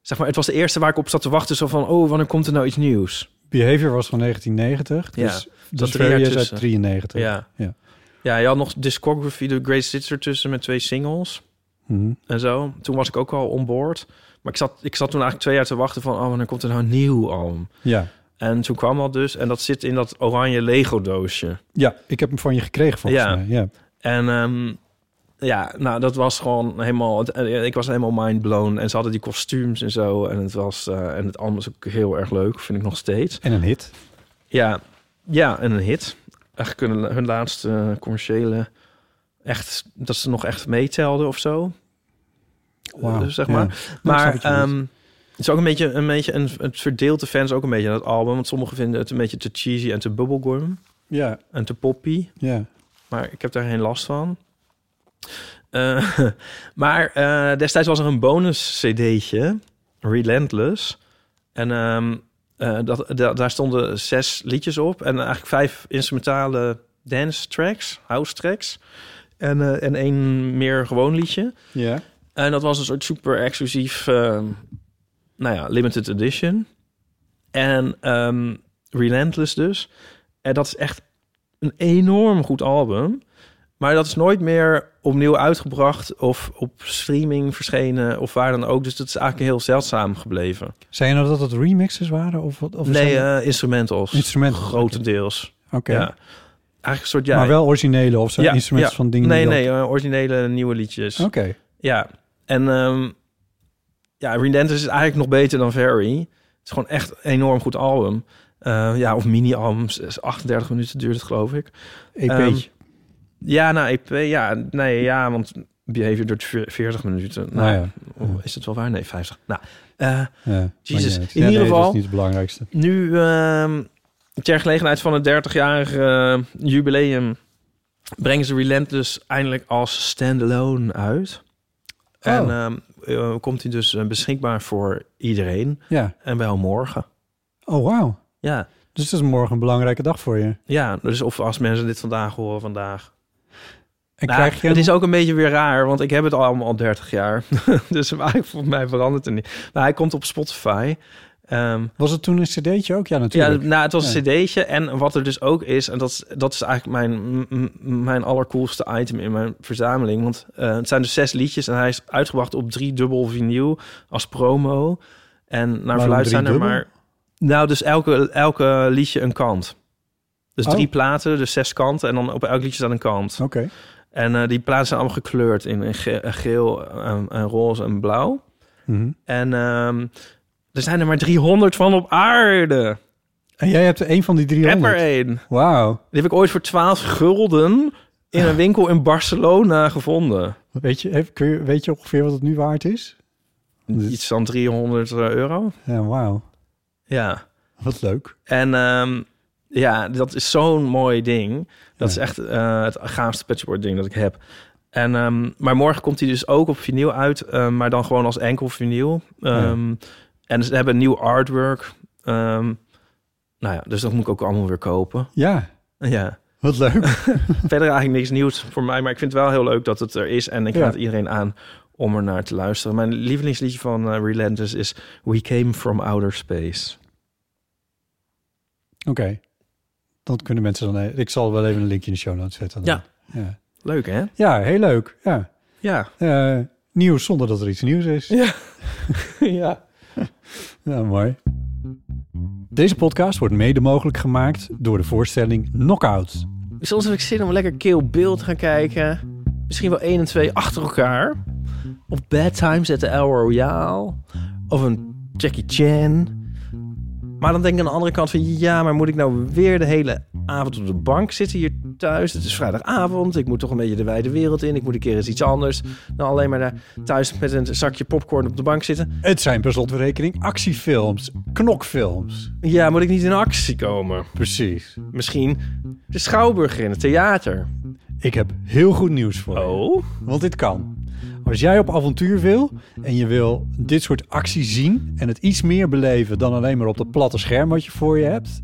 S2: Zeg maar, het was de eerste waar ik op zat te wachten. Zo van, oh, wanneer komt er nou iets nieuws?
S3: Behavior was van 1990.
S2: Ja.
S3: Dus,
S2: drie
S3: dus
S2: jaar
S3: Fairy is uit
S2: tussen.
S3: 93.
S2: Ja.
S3: Ja.
S2: ja, je had nog Discography, de Great Hits ertussen met twee singles
S3: Mhm.
S2: en zo. Toen was ik ook al on board. Maar ik zat, ik zat toen eigenlijk twee jaar te wachten van, oh, wanneer komt er nou een nieuw album?
S3: ja.
S2: En toen kwam dat dus. En dat zit in dat oranje Lego-doosje.
S3: Ja, ik heb hem van je gekregen volgens
S2: Ja.
S3: mij. Ja.
S2: En ehm, ja, nou, dat was gewoon helemaal... het- eh, Ik was helemaal mind blown. En ze hadden die kostuums en zo. En het was... eh, en het allemaal is ook heel erg leuk. Vind ik nog steeds.
S3: En een hit.
S2: Ja, ja en een hit. Eigenlijk hun, hun laatste eh, commerciële... Echt, dat ze nog echt meetelden of zo.
S3: Wauw,
S2: Eh, zeg
S3: ja. Nou,
S2: maar.
S3: snap
S2: Maar
S3: wat je bedoelt.
S2: ehm, het is ook een beetje, een beetje een, het verdeelt de fans ook een beetje aan het album. Want sommigen vinden het een beetje te cheesy en te bubblegum
S3: Ja,
S2: en te poppy.
S3: ja.
S2: Maar ik heb daar geen last van. Eh, maar eh, destijds was er een bonus cd'tje, Relentless. En ehm, eh, dat, da- daar stonden zes liedjes op. En eigenlijk vijf instrumentale dance tracks, house tracks. En, eh, en één meer gewoon liedje.
S3: ja.
S2: En dat was een soort super exclusief, ehm, nou ja, limited edition. En ehm, Relentless dus. En dat is echt een enorm goed album. Maar dat is nooit meer opnieuw uitgebracht of op streaming verschenen of waar dan ook. Dus dat is eigenlijk heel zeldzaam gebleven.
S3: Zijn nou dat het remixes waren? Of, wat- of
S2: nee,
S3: zijn-
S2: eh, instrumentals.
S3: Instrumentals,
S2: Grotendeels.
S3: Oké.
S2: Ja. Eigenlijk een soort, ja.
S3: maar wel originele of zijn
S2: ja,
S3: instrumenten
S2: ja.
S3: van dingen
S2: Nee,
S3: die
S2: nee, eh, originele nieuwe liedjes.
S3: dat- Oké.
S2: Ja, en ehm ja, Relentless is eigenlijk nog beter dan Very. Het is gewoon echt een enorm goed album. Eh, ja, of mini-albums. is 38 minuten duurt het, geloof ik.
S3: E
S2: Ehm,
S3: EP'tje.
S2: Ja, nou, EP, ja, nee, ja, want Behavior duurt veer- 40 minuten. Nou,
S3: nou ja.
S2: oh, is dat wel waar? Nee, 50. Nou, eh,
S3: ja maakt
S2: Jezus,
S3: niet uit.
S2: in
S3: Ja,
S2: ieder
S3: nee, Dat
S2: geval-
S3: is niet het belangrijkste.
S2: nu, ehm, ter gelegenheid van het 30-jarige eh, jubileum... brengen ze Relentless eindelijk als standalone uit.
S3: Oh.
S2: En ehm, eh, komt hij dus eh, beschikbaar voor iedereen.
S3: Ja.
S2: En wel morgen.
S3: Oh, wauw.
S2: Ja.
S3: Dus het is morgen een belangrijke dag voor je.
S2: Ja, dus of als mensen dit vandaag horen, vandaag.
S3: En
S2: Nou,
S3: krijg je...
S2: Het is ook een beetje weer raar, want ik heb het allemaal al 30 jaar. dus eigenlijk volgens mij verandert het niet. Maar hij komt op Spotify. Ehm,
S3: Was het toen een cd'tje ook? Ja,
S2: ja,
S3: natuurlijk.
S2: nou, het was
S3: Ja.
S2: een cd'tje. En wat er dus ook is, en dat is, dat is eigenlijk mijn, m- m- mijn allercoolste item in mijn verzameling. Want eh, het zijn dus zes liedjes en hij is uitgebracht op drie dubbel vinyl als promo. En naar verluidt zijn er
S3: driedubbel?
S2: maar... Nou, dus elke, elke liedje een kant. Dus
S3: Oh.
S2: drie platen, dus zes kanten. En dan op elk liedje staat een kant.
S3: Oké.
S2: En eh, die platen zijn allemaal gekleurd in, in ge- eh, geel, en, en roze en blauw.
S3: Mhm.
S2: En ehm, er zijn er maar 300 van op aarde.
S3: En jij hebt een van die
S2: Ik heb er
S3: 300.
S2: één. Die
S3: Wauw.
S2: heb ik ooit voor 12 gulden in een winkel in Barcelona gevonden.
S3: Weet je, heb- kun je, weet je ongeveer wat het nu waard is? Dus-
S2: Iets van 300 euro.
S3: Ja, wauw.
S2: Ja.
S3: Wat leuk.
S2: En ehm, ja, dat is zo'n mooi ding. Dat
S3: Ja.
S2: is echt eh, het gaafste patchboard ding dat ik heb. En, ehm, maar morgen komt hij dus ook op vinyl uit, ehm, maar dan gewoon als enkel vinyl. Ehm, En ze hebben nieuw artwork. Ehm, Nou ja, dus dat moet ik ook allemaal weer kopen.
S3: Ja,
S2: Ja.
S3: wat leuk.
S2: Verder eigenlijk niks nieuws voor mij, maar ik vind het wel heel leuk dat het er is. En ik
S3: Ja.
S2: raad iedereen aan om er naar te luisteren. Mijn lievelingsliedje van eh, Relentless is We Came From Outer Space.
S3: Oké. Dat kunnen mensen dan... Ik zal wel even een linkje in de show notes zetten. dan. Ja,
S2: Leuk hè?
S3: ja heel leuk. Ja.
S2: Ja.
S3: Eh, nieuws zonder dat er iets nieuws is.
S2: Ja. ja.
S3: Ja, mooi. Deze podcast wordt mede mogelijk gemaakt door de voorstelling Knockout.
S2: Soms Dus heb ik zin om lekker Kill Bill te gaan kijken. Misschien wel 1 en 2 achter elkaar. Of Bad Times at the El Royale. Of een Jackie Chan. Maar dan denk ik aan de andere kant van... Ja, maar moet ik nou weer de hele avond op de bank zitten hier thuis? Het is vrijdagavond. Ik moet toch een beetje de wijde wereld in. Ik moet een keer eens iets anders. Dan alleen maar daar thuis met een zakje popcorn op de bank zitten.
S3: Het zijn per slotverrekening actiefilms, knokfilms.
S2: Ja, moet ik niet in actie komen?
S3: Precies.
S2: Misschien de Schouwburger in het theater.
S3: Ik heb heel goed nieuws voor je.
S2: Oh?
S3: Want dit kan. Als jij op avontuur wil en je wil dit soort acties zien en het iets meer beleven dan alleen maar op dat platte scherm wat je voor je hebt,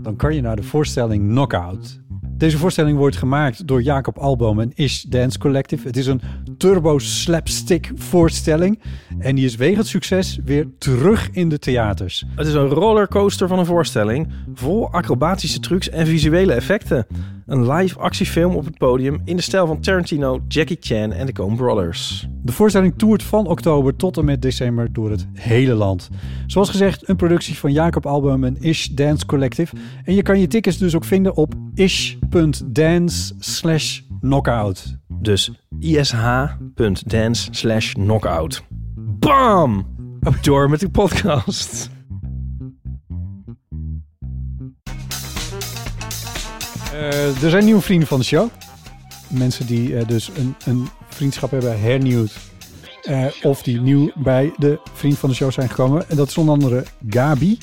S3: dan kan je naar de voorstelling Knockout. Deze voorstelling wordt gemaakt door Jacob Alboom en Ish Dance Collective. Het is een turbo slapstick voorstelling en die is wegens succes weer terug in de theaters.
S2: Het is een rollercoaster van een voorstelling, vol acrobatische trucs en visuele effecten. Een live actiefilm op het podium in de stijl van Tarantino, Jackie Chan en de Coen Brothers.
S3: De voorstelling toert van oktober tot en met december door het hele land. Zoals gezegd, een productie van Jacob Album en Ish Dance Collective. En je kan je tickets dus ook vinden op ish.dance slash knockout.
S2: Dus ish.dance slash knockout. Bam! Door met de podcast.
S3: Eh, er zijn nieuwe vrienden van de show. Mensen die eh, dus een, een vriendschap hebben hernieuwd. Eh, of die nieuw bij de vriend van de show zijn gekomen. En dat is onder andere Gabi,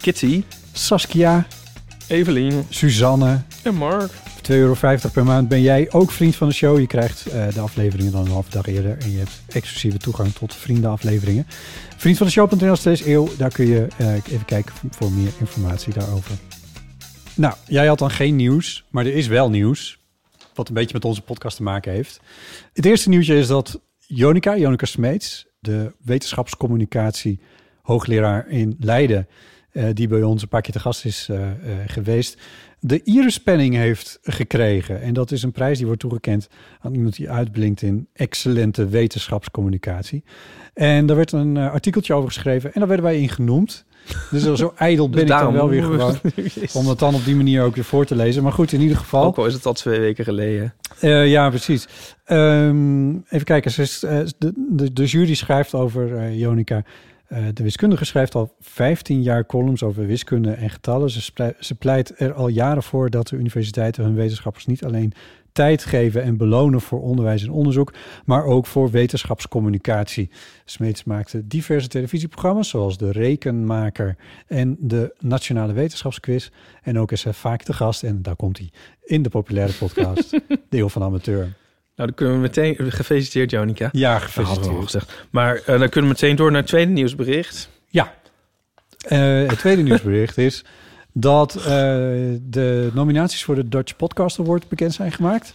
S2: Kitty,
S3: Saskia,
S2: Evelien
S3: Suzanne,
S2: en Mark.
S3: 2,50 euro per maand ben jij ook vriend van de show. Je krijgt eh, de afleveringen dan een halve dag eerder. En je hebt exclusieve toegang tot vriendenafleveringen. Vriend van de show.nl steeds eeuw. Daar kun je eh, even kijken voor- voor meer informatie daarover. Nou, jij had dan geen nieuws. Maar er is wel nieuws. Wat een beetje met onze podcast te maken heeft. Het eerste nieuwtje is dat Jonica, Jonica Smeets, de wetenschapscommunicatie hoogleraar in Leiden, eh, die bij ons een paar keer te gast is eh, eh, geweest, de Iris-penning heeft gekregen. En dat is een prijs die wordt toegekend aan iemand die uitblinkt in excellente wetenschapscommunicatie. En daar werd een eh, artikeltje over geschreven en daar werden wij in genoemd. Dus zo ijdel ben ik dan wel weer gewoon. Om dat dan op die manier ook weer voor te lezen. Maar goed, in ieder geval.
S2: Ook al is het al twee weken geleden.
S3: Eh, ja, precies. Ehm, even kijken. Ze is, eh, de, de, de jury schrijft over eh Jonica. Eh, de wiskundige schrijft al 15 jaar columns over wiskunde en getallen. Ze, sprei- ze pleit er al jaren voor dat de universiteiten hun wetenschappers niet alleen tijd geven en belonen voor onderwijs en onderzoek, maar ook voor wetenschapscommunicatie. Smeets maakte diverse televisieprogramma's zoals De Rekenmaker en de Nationale Wetenschapsquiz. En ook is hij vaak te gast, en daar komt hij, in de populaire podcast de Eeuw van de Amateur.
S2: Nou, dan kunnen we meteen... Gefeliciteerd, Jonica.
S3: Ja,
S2: Dat hadden we al
S3: gefeliciteerd.
S2: gezegd. Maar eh, dan kunnen we meteen door naar het tweede nieuwsbericht.
S3: Ja. Eh, het tweede nieuwsbericht is dat eh, de nominaties voor de Dutch Podcast Award bekend zijn gemaakt.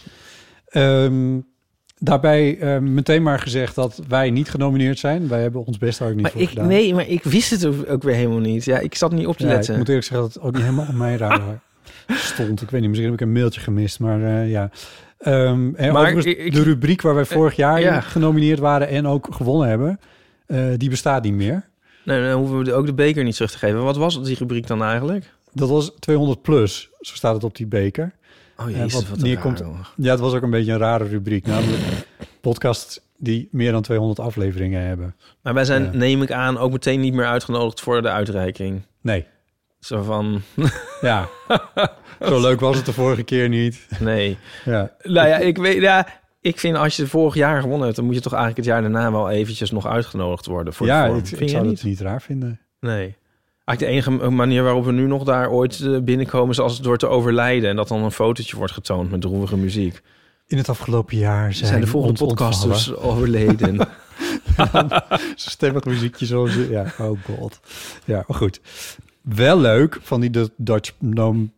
S3: Ehm, daarbij eh, meteen maar gezegd dat wij niet genomineerd zijn. Wij hebben ons best daar ook niet
S2: Maar
S3: voor
S2: ik,
S3: gedaan.
S2: nee, maar ik wist het ook ook weer helemaal niet. Ja, ik zat niet op te
S3: Ja,
S2: letten.
S3: ik moet eerlijk zeggen dat het ook niet helemaal op mijn radar stond. Ik weet niet, misschien heb ik een mailtje gemist, maar eh, ja. Ehm, en
S2: Maar
S3: overigens,
S2: ik- ik- eh,
S3: de rubriek waar wij vorig jaar
S2: ja.
S3: in genomineerd waren en ook gewonnen hebben, eh, die bestaat niet meer.
S2: Nee, dan hoeven we de- ook de beker niet terug te geven. Wat was die rubriek dan eigenlijk?
S3: Dat was 200 plus, zo staat het op die beker.
S2: Oh
S3: Ja,
S2: jezus,
S3: wat
S2: wat, een
S3: neerkomt-
S2: raar, jongen.
S3: Ja, het was ook een beetje een rare rubriek, namelijk podcasts die meer dan 200 afleveringen hebben.
S2: Maar wij zijn,
S3: Ja.
S2: neem ik aan, ook meteen niet meer uitgenodigd voor de uitreiking.
S3: Nee,
S2: Zo van,
S3: ja. zo leuk was het de vorige keer niet.
S2: nee.
S3: Ja,
S2: nou ja, ik weet, ja, ik vind als je vorig jaar gewonnen hebt... dan moet je toch eigenlijk het jaar daarna wel eventjes nog uitgenodigd worden. Voor
S3: ja
S2: de vorm.
S3: ik, ik
S2: vind jij
S3: zou
S2: niet?
S3: het niet raar vinden.
S2: Nee. Eigenlijk de enige manier waarop we nu nog daar ooit eh, binnenkomen... is als het door te overlijden en dat dan een fotootje wordt getoond met droevige muziek.
S3: In het afgelopen jaar
S2: Zijn,
S3: zijn,
S2: de volgende
S3: ons ontvallen.
S2: podcasters overleden.
S3: Stemmig muziekje zoals... Ja, oh god. Ja, maar goed. Wel leuk van die de, Dutch nom-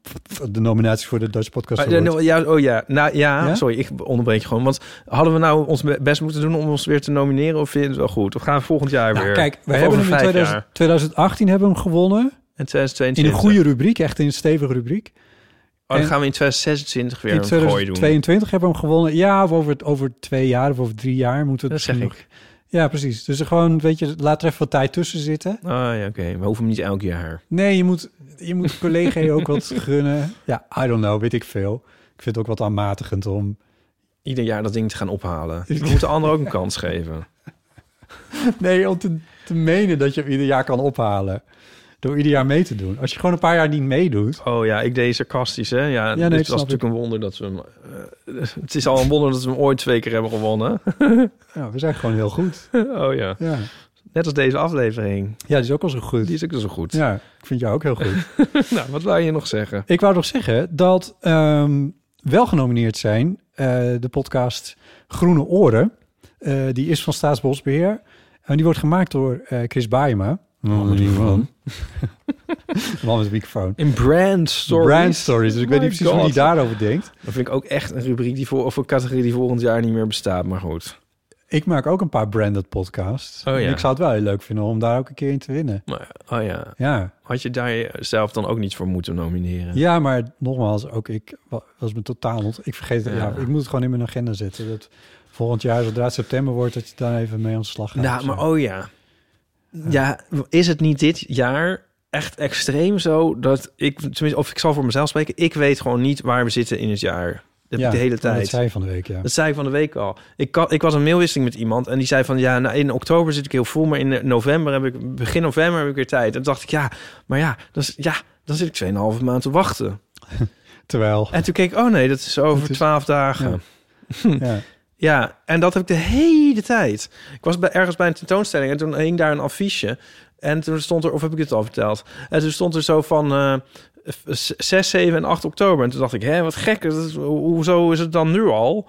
S3: de nominaties voor de Dutch Podcast
S2: Maar, eh,
S3: Award.
S2: nou, ja, oh ja. Nou, ja,
S3: Ja?
S2: sorry, ik onderbreek je gewoon. Want hadden we nou ons be- best moeten doen om ons weer te nomineren? Of vind je het wel goed? Of gaan we volgend jaar
S3: Nou,
S2: weer?
S3: kijk,
S2: Of
S3: wij hebben
S2: over
S3: hem in
S2: vijf
S3: 2000
S2: jaar?
S3: 2018 hebben we hem gewonnen.
S2: In
S3: In
S2: 2022.
S3: een goede rubriek, echt in een stevige rubriek.
S2: Oh, dan
S3: en-
S2: gaan we in 2026 weer
S3: in
S2: een gooi doen.
S3: 2022 hebben we hem gewonnen. Ja, of over, over twee jaar of over drie jaar moeten we
S2: Dat
S3: het
S2: zeg
S3: misschien
S2: ik.
S3: nog- Ja, precies. Dus gewoon, weet je, laat er even wat tijd tussen zitten.
S2: Ah ja, oké. We hoeven hem niet elk jaar.
S3: Nee, je moet, je moet collega ook wat gunnen. Ja, I don't know, weet ik veel. Ik vind het ook wat aanmatigend om...
S2: Ieder jaar dat ding te gaan ophalen. We moeten anderen ook een kans geven.
S3: Nee, om te, te menen dat je hem ieder jaar kan ophalen. Door ieder jaar mee te doen. Als je gewoon een paar jaar niet meedoet...
S2: Oh ja, ik deed sarcastisch, hè? Ja,
S3: nee,
S2: dit was
S3: dat snap
S2: natuurlijk een wonder dat we hem... eh, het is al een wonder dat we hem ooit twee keer hebben gewonnen.
S3: Nou, we zijn gewoon heel goed.
S2: oh ja.
S3: Ja,
S2: Net als deze aflevering.
S3: ja die is ook al zo goed.
S2: Die is ook zo goed.
S3: Ja, ik vind jou ook heel goed.
S2: Nou, wat wil je nog zeggen?
S3: Ik wou nog zeggen dat ehm, wel genomineerd zijn eh, de podcast Groene Oren. Eh, die is van Staatsbosbeheer. En die wordt gemaakt door eh, Chris Baaema. Man met de microfoon. Man met de microfoon.
S2: In brand stories. Oh
S3: Brand Stories. Dus ik weet
S2: My
S3: niet precies hoe
S2: God.
S3: hij daarover denkt.
S2: Dat vind ik ook echt een rubriek die voor, of een categorie die volgend jaar niet meer bestaat. Maar goed.
S3: Ik maak ook een paar branded podcasts.
S2: Oh ja.
S3: En ik zou het wel heel leuk vinden om daar ook een keer in te winnen.
S2: Maar, oh ja.
S3: Ja,
S2: Had je daar zelf dan ook niet voor moeten nomineren?
S3: ja maar nogmaals, ook ik wa- was me totaal... ont- Ik vergeet het. Ja.
S2: Ja.
S3: ik moet het gewoon in mijn agenda zetten. Dat volgend jaar, zodra het september wordt, dat je daar even mee aan de slag gaat.
S2: Nou,
S3: Zo.
S2: maar oh ja. Ja, is het niet dit jaar echt extreem zo dat ik, tenminste, of ik zal voor mezelf spreken, ik weet gewoon niet waar we zitten in het jaar. Dat heb ik de hele tijd.
S3: Dat zei je van de week, ja.
S2: Dat zei ik van de week al. Ik, kan, ik was een mailwisseling met iemand en die zei van ja, nou, in oktober zit ik heel vol, maar in eh, november heb ik, begin november heb ik weer tijd. En toen dacht ik ja, maar ja, dan, is- ja, dan zit ik 2,5 maand te wachten.
S3: Terwijl,
S2: En toen keek ik, oh nee, dat is over
S3: Dat is-
S2: 12 dagen.
S3: ja. ja.
S2: Ja, en dat heb ik de hele tijd. Ik was bij, ergens bij een tentoonstelling en toen hing daar een affiche. En toen stond er, of heb ik het al verteld? En toen stond er zo van eh, v- z- 6, 7 en 8 oktober. En toen dacht ik, hè, wat gek. dat is- ho- hoezo is het dan nu al?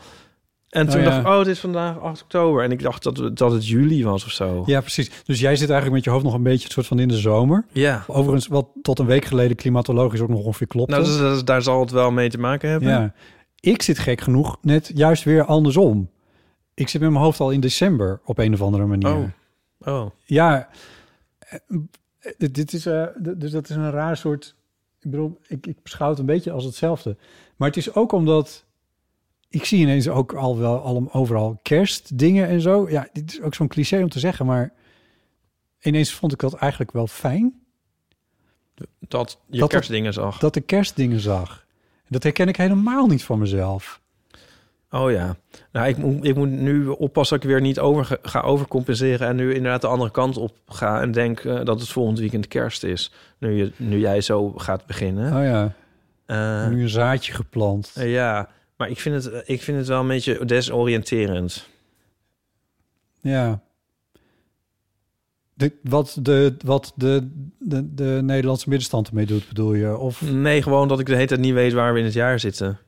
S2: En toen
S3: Oh, ja.
S2: dacht ik, oh, het is vandaag 8 oktober. En ik dacht dat, we- dat het juli was of zo.
S3: ja, precies. Dus jij zit eigenlijk met je hoofd nog een beetje een soort van in de zomer.
S2: Ja.
S3: Overigens, wat tot een week geleden klimatologisch ook nog ongeveer klopt.
S2: Nou, dus, dus daar zal het wel mee te maken hebben.
S3: ja. Ik zit gek genoeg net juist weer andersom. Ik zit met mijn hoofd al in december op een of andere manier.
S2: Oh. Oh.
S3: Ja, eh, dit, dit is, eh, d- dus dat is een raar soort... Ik bedoel, ik, ik beschouw het een beetje als hetzelfde. Maar het is ook omdat... Ik zie ineens ook al wel al, overal kerstdingen en zo. Ja, dit is ook zo'n cliché om te zeggen, maar... Ineens vond ik dat eigenlijk wel fijn,
S2: Dat je
S3: Dat-
S2: kerstdingen zag.
S3: dat ik kerstdingen zag. Dat herken ik helemaal niet van mezelf.
S2: Oh ja. Nou, ik, moet- ik moet nu oppassen dat ik weer niet over ga overcompenseren... en nu inderdaad de andere kant op ga en denk eh, dat het volgend weekend kerst is. Nu, je, nu jij zo gaat beginnen.
S3: Oh ja,
S2: Eh,
S3: nu een zaadje geplant.
S2: eh, ja, maar ik vind, het, ik vind het wel een beetje desoriënterend.
S3: Ja. De, wat de, wat de, de, de Nederlandse middenstand ermee doet, bedoel je? Of
S2: Nee, gewoon dat ik de hele tijd niet weet waar we in het jaar zitten.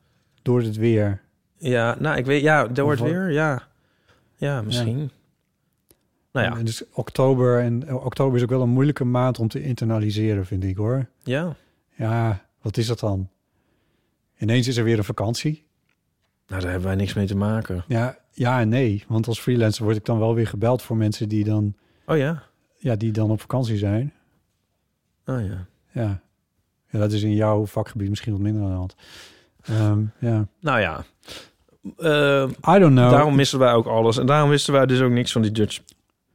S3: door het weer?
S2: Ja, nou, ik weet... Ja, door het
S3: Of wat?
S2: weer, ja. Ja, misschien. Nou ja,
S3: En Dus oktober, en eh, oktober is ook wel een moeilijke maand om te internaliseren, vind ik hoor.
S2: ja.
S3: Ja, wat is dat dan? Ineens is er weer een vakantie.
S2: Nou, daar hebben wij niks mee te maken.
S3: Ja, ja en nee. Want als freelancer word ik dan wel weer gebeld voor mensen die dan,
S2: Oh ja?
S3: ja, die dan op vakantie zijn.
S2: Oh ja.
S3: Ja. ja, dat is in jouw vakgebied misschien wat minder aan de hand. Ehm, ja,
S2: Nou ja. Eh,
S3: I don't know.
S2: Daarom missen wij ook alles. En daarom wisten wij dus ook niks van die Dutch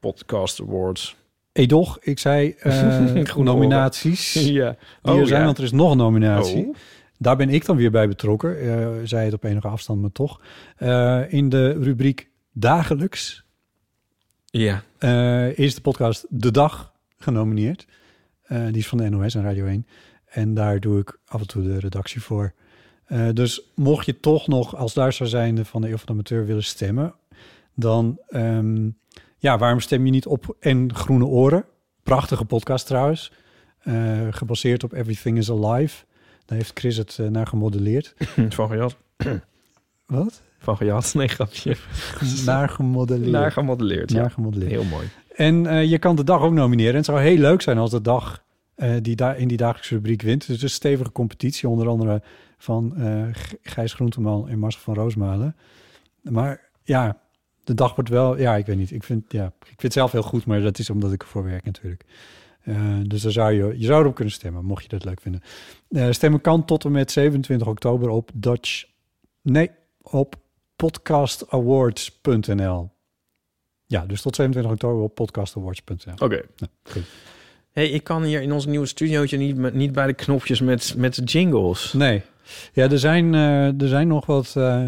S2: Podcast Awards.
S3: Edoch, ik zei eh,
S2: Groene
S3: nominaties. Die
S2: Ja.
S3: er zijn, want er is nog een nominatie.
S2: Oh.
S3: Daar ben ik dan weer bij betrokken. eh zij het op enige afstand, maar toch. Eh, in de rubriek dagelijks
S2: Ja.
S3: eh, is de podcast De Dag genomineerd. Eh, die is van de NOS en Radio 1. En daar doe ik af en toe de redactie voor. Eh, dus mocht je toch nog als luisteraar zijnde van de Eeuw van de Amateur willen stemmen... dan, ehm, ja, waarom stem je niet op En Groene Oren? Prachtige podcast trouwens. Eh, gebaseerd op Everything is Alive. Daar heeft Chris het eh, naar gemodelleerd.
S2: Van gejat.
S3: Wat?
S2: Van gejat. Hm. Nee, grapje.
S3: Naar gemodelleerd.
S2: Naar gemodelleerd.
S3: Naar
S2: Ja.
S3: gemodelleerd.
S2: Heel mooi.
S3: En eh, je kan de dag ook nomineren. En het zou heel leuk zijn als de dag eh, die daar in die dagelijkse rubriek wint. Dus het is een stevige competitie, onder andere van eh, G- Gijs Groenteman en Marcel van Roosmalen. Maar ja, de dag wordt wel, ja, ik weet niet. Ik vind, ja, ik vind het zelf heel goed, maar dat is omdat ik ervoor werk natuurlijk. Eh, dus daar zou je, je zou erop kunnen stemmen, mocht je dat leuk vinden. Eh, stemmen kan tot en met 27 oktober op Dutch, nee, op podcastawards.nl. Ja, dus tot 27 oktober op podcastawards.nl.
S2: Oké.
S3: Nou,
S2: hey, ik kan hier in ons nieuwe studiootje niet, met- niet bij de knopjes met, met de jingles.
S3: Nee. Ja, er zijn, eh, er zijn nog wat. eh,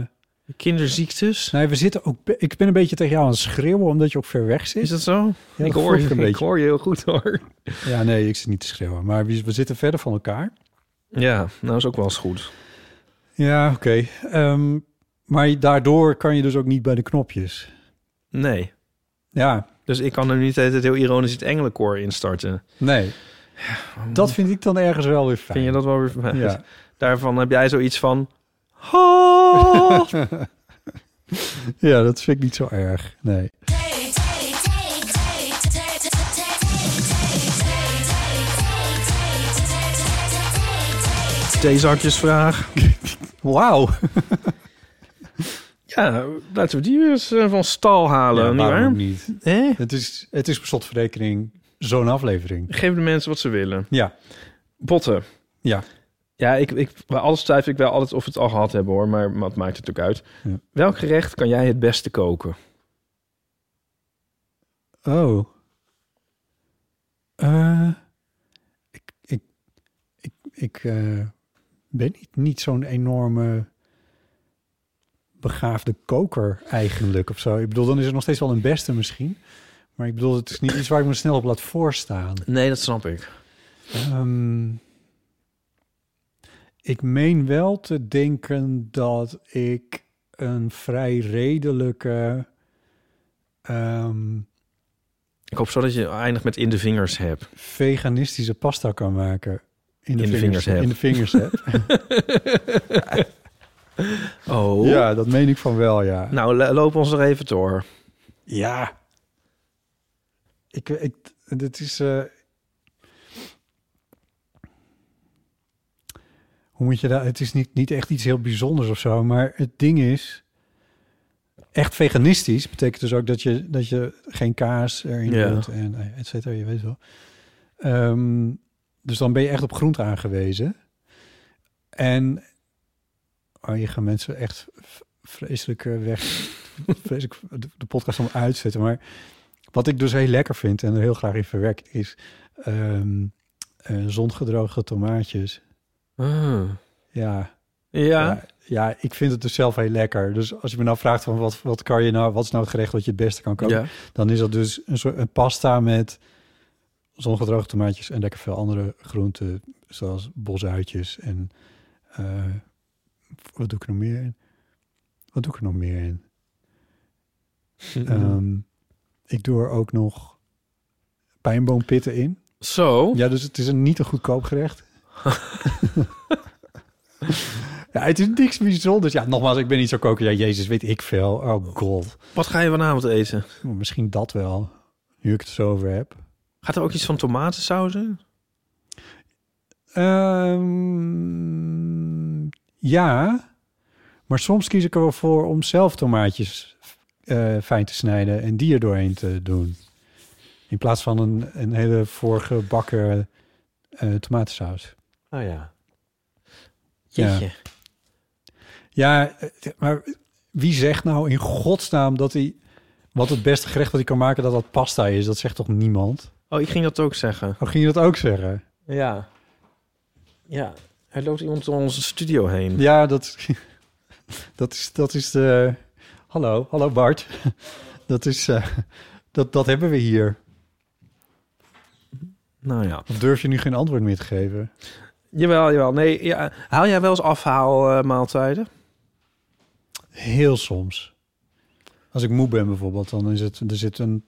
S2: Kinderziektes?
S3: nee, we zitten ook. be- Ik ben een beetje tegen jou aan het schreeuwen, omdat je ook ver weg zit.
S2: Is dat zo?
S3: Ja,
S2: ik
S3: dat
S2: hoor
S3: voel ik
S2: je
S3: een
S2: Ik
S3: beetje.
S2: hoor je heel goed hoor.
S3: Ja, nee, ik zit niet te schreeuwen. Maar we, we zitten verder van elkaar.
S2: Ja, nou is ook wel eens goed.
S3: Ja, oké. Ehm, maar daardoor kan je dus ook niet bij de knopjes.
S2: Nee.
S3: Ja,
S2: Dus ik kan hem niet het heel ironisch het engelenkoor instarten.
S3: nee. Dat vind ik dan ergens wel weer fijn.
S2: Vind je dat wel weer...
S3: Ja.
S2: Daarvan heb jij zoiets van... "Ha!"
S3: ja, dat vind ik niet zo erg. Nee.
S2: Theezakjesvraag.
S3: Wauw.
S2: Ja, laten we die eens eh, van stal halen,
S3: Ja,
S2: niet
S3: waarom
S2: waar?
S3: ook niet?
S2: Hè?
S3: Het is, het is per slotverrekening zo'n aflevering.
S2: Geef de mensen wat ze willen.
S3: Ja,
S2: Botten.
S3: ja.
S2: Ja, ik, ik, bij alles twijfel ik wel altijd of we het al gehad hebben hoor, maar wat maakt het ook uit.
S3: Ja.
S2: Welk gerecht kan jij het beste koken?
S3: Oh. Eh, ik ik, ik, ik eh, ben niet, niet zo'n enorme begaafde koker eigenlijk of zo. Ik bedoel, dan is er nog steeds wel een beste misschien. Maar ik bedoel, het is niet iets waar ik me snel op laat voorstaan.
S2: Nee, dat snap ik.
S3: Ehm, ik meen wel te denken dat ik een vrij redelijke... ehm,
S2: Ik hoop zo dat je eindigt met in de vingers hebt.
S3: veganistische pasta kan maken. In de,
S2: In de vingers
S3: vingers,
S2: heb.
S3: In de vingers heb.
S2: Oh.
S3: ja, dat meen ik van wel, ja.
S2: Nou, lo- loop ons er even door.
S3: Ja. Ik, ik, dit is... eh, Hoe moet je dat... Het is niet, niet echt iets heel bijzonders of zo, maar het ding is... Echt veganistisch betekent dus ook dat je, dat je geen kaas erin
S2: Ja.
S3: doet en eh, et cetera, je weet wel. Ehm, dus dan ben je echt op groente aangewezen. En... Oh, je gaat mensen echt v- vreselijk eh, weg vreselijk de, de podcast om uitzetten. Maar wat ik dus heel lekker vind en er heel graag in verwerkt is ehm eh, zondgedroogde tomaatjes.
S2: Ah.
S3: Ja,
S2: Ja.
S3: ja. ja, ik vind het dus zelf heel lekker. Dus als je me nou vraagt van wat, wat kan je nou, wat is nou het gerecht wat je het beste kan koken,
S2: Ja.
S3: dan is dat dus een soort een pasta met zongedroogde tomaatjes en lekker veel andere groenten, zoals bosuitjes en eh, wat doe ik er nog meer in? Wat doe ik er nog meer in? Ehm, ik doe er ook nog pijnboompitten in.
S2: Zo.
S3: Ja, dus het is een niet een goedkoop gerecht. ja, het is niks bijzonders. Ja, nogmaals, ik ben niet zo koken. Ja, Jezus, weet ik veel. Oh god.
S2: Wat ga je vanavond eten?
S3: Maar Misschien dat wel, nu ik het zo over heb.
S2: Gaat er ook iets van tomatensaus in?
S3: Ehm, ja, maar soms kies ik er wel voor om zelf tomaatjes eh, fijn te snijden en die er doorheen te doen. In plaats van een, een hele voorgebakken eh tomatensaus.
S2: Oh ja.
S3: Ja.
S2: Jeetje.
S3: Ja, eh, maar wie zegt nou in godsnaam dat hij... wat het beste gerecht dat hij kan maken, dat dat pasta is? Dat zegt toch niemand?
S2: Oh, ik ging dat ook zeggen.
S3: Of ging je dat ook zeggen?
S2: Ja. Ja. Er loopt iemand door onze studio heen.
S3: Ja, dat, dat, is, dat is de... Hallo, hallo Bart. Dat is... eh, dat, dat hebben we hier.
S2: Nou ja.
S3: Of durf je nu geen antwoord meer te geven?
S2: Jawel, jawel. Nee, ja. Haal jij wel eens eh, afhaalmaaltijden?
S3: Heel soms. Als ik moe ben bijvoorbeeld, dan is het... Er zit een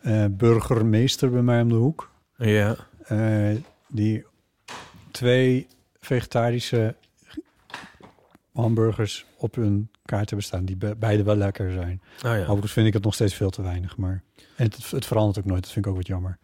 S3: eh, burgermeester bij mij om de hoek.
S2: ja.
S3: eh, die twee vegetarische hamburgers op hun kaart hebben staan, die be- beide wel lekker zijn.
S2: Oh ja.
S3: Overigens vind ik het nog steeds veel te weinig, maar en het, het verandert ook nooit. Dat vind ik ook wat jammer.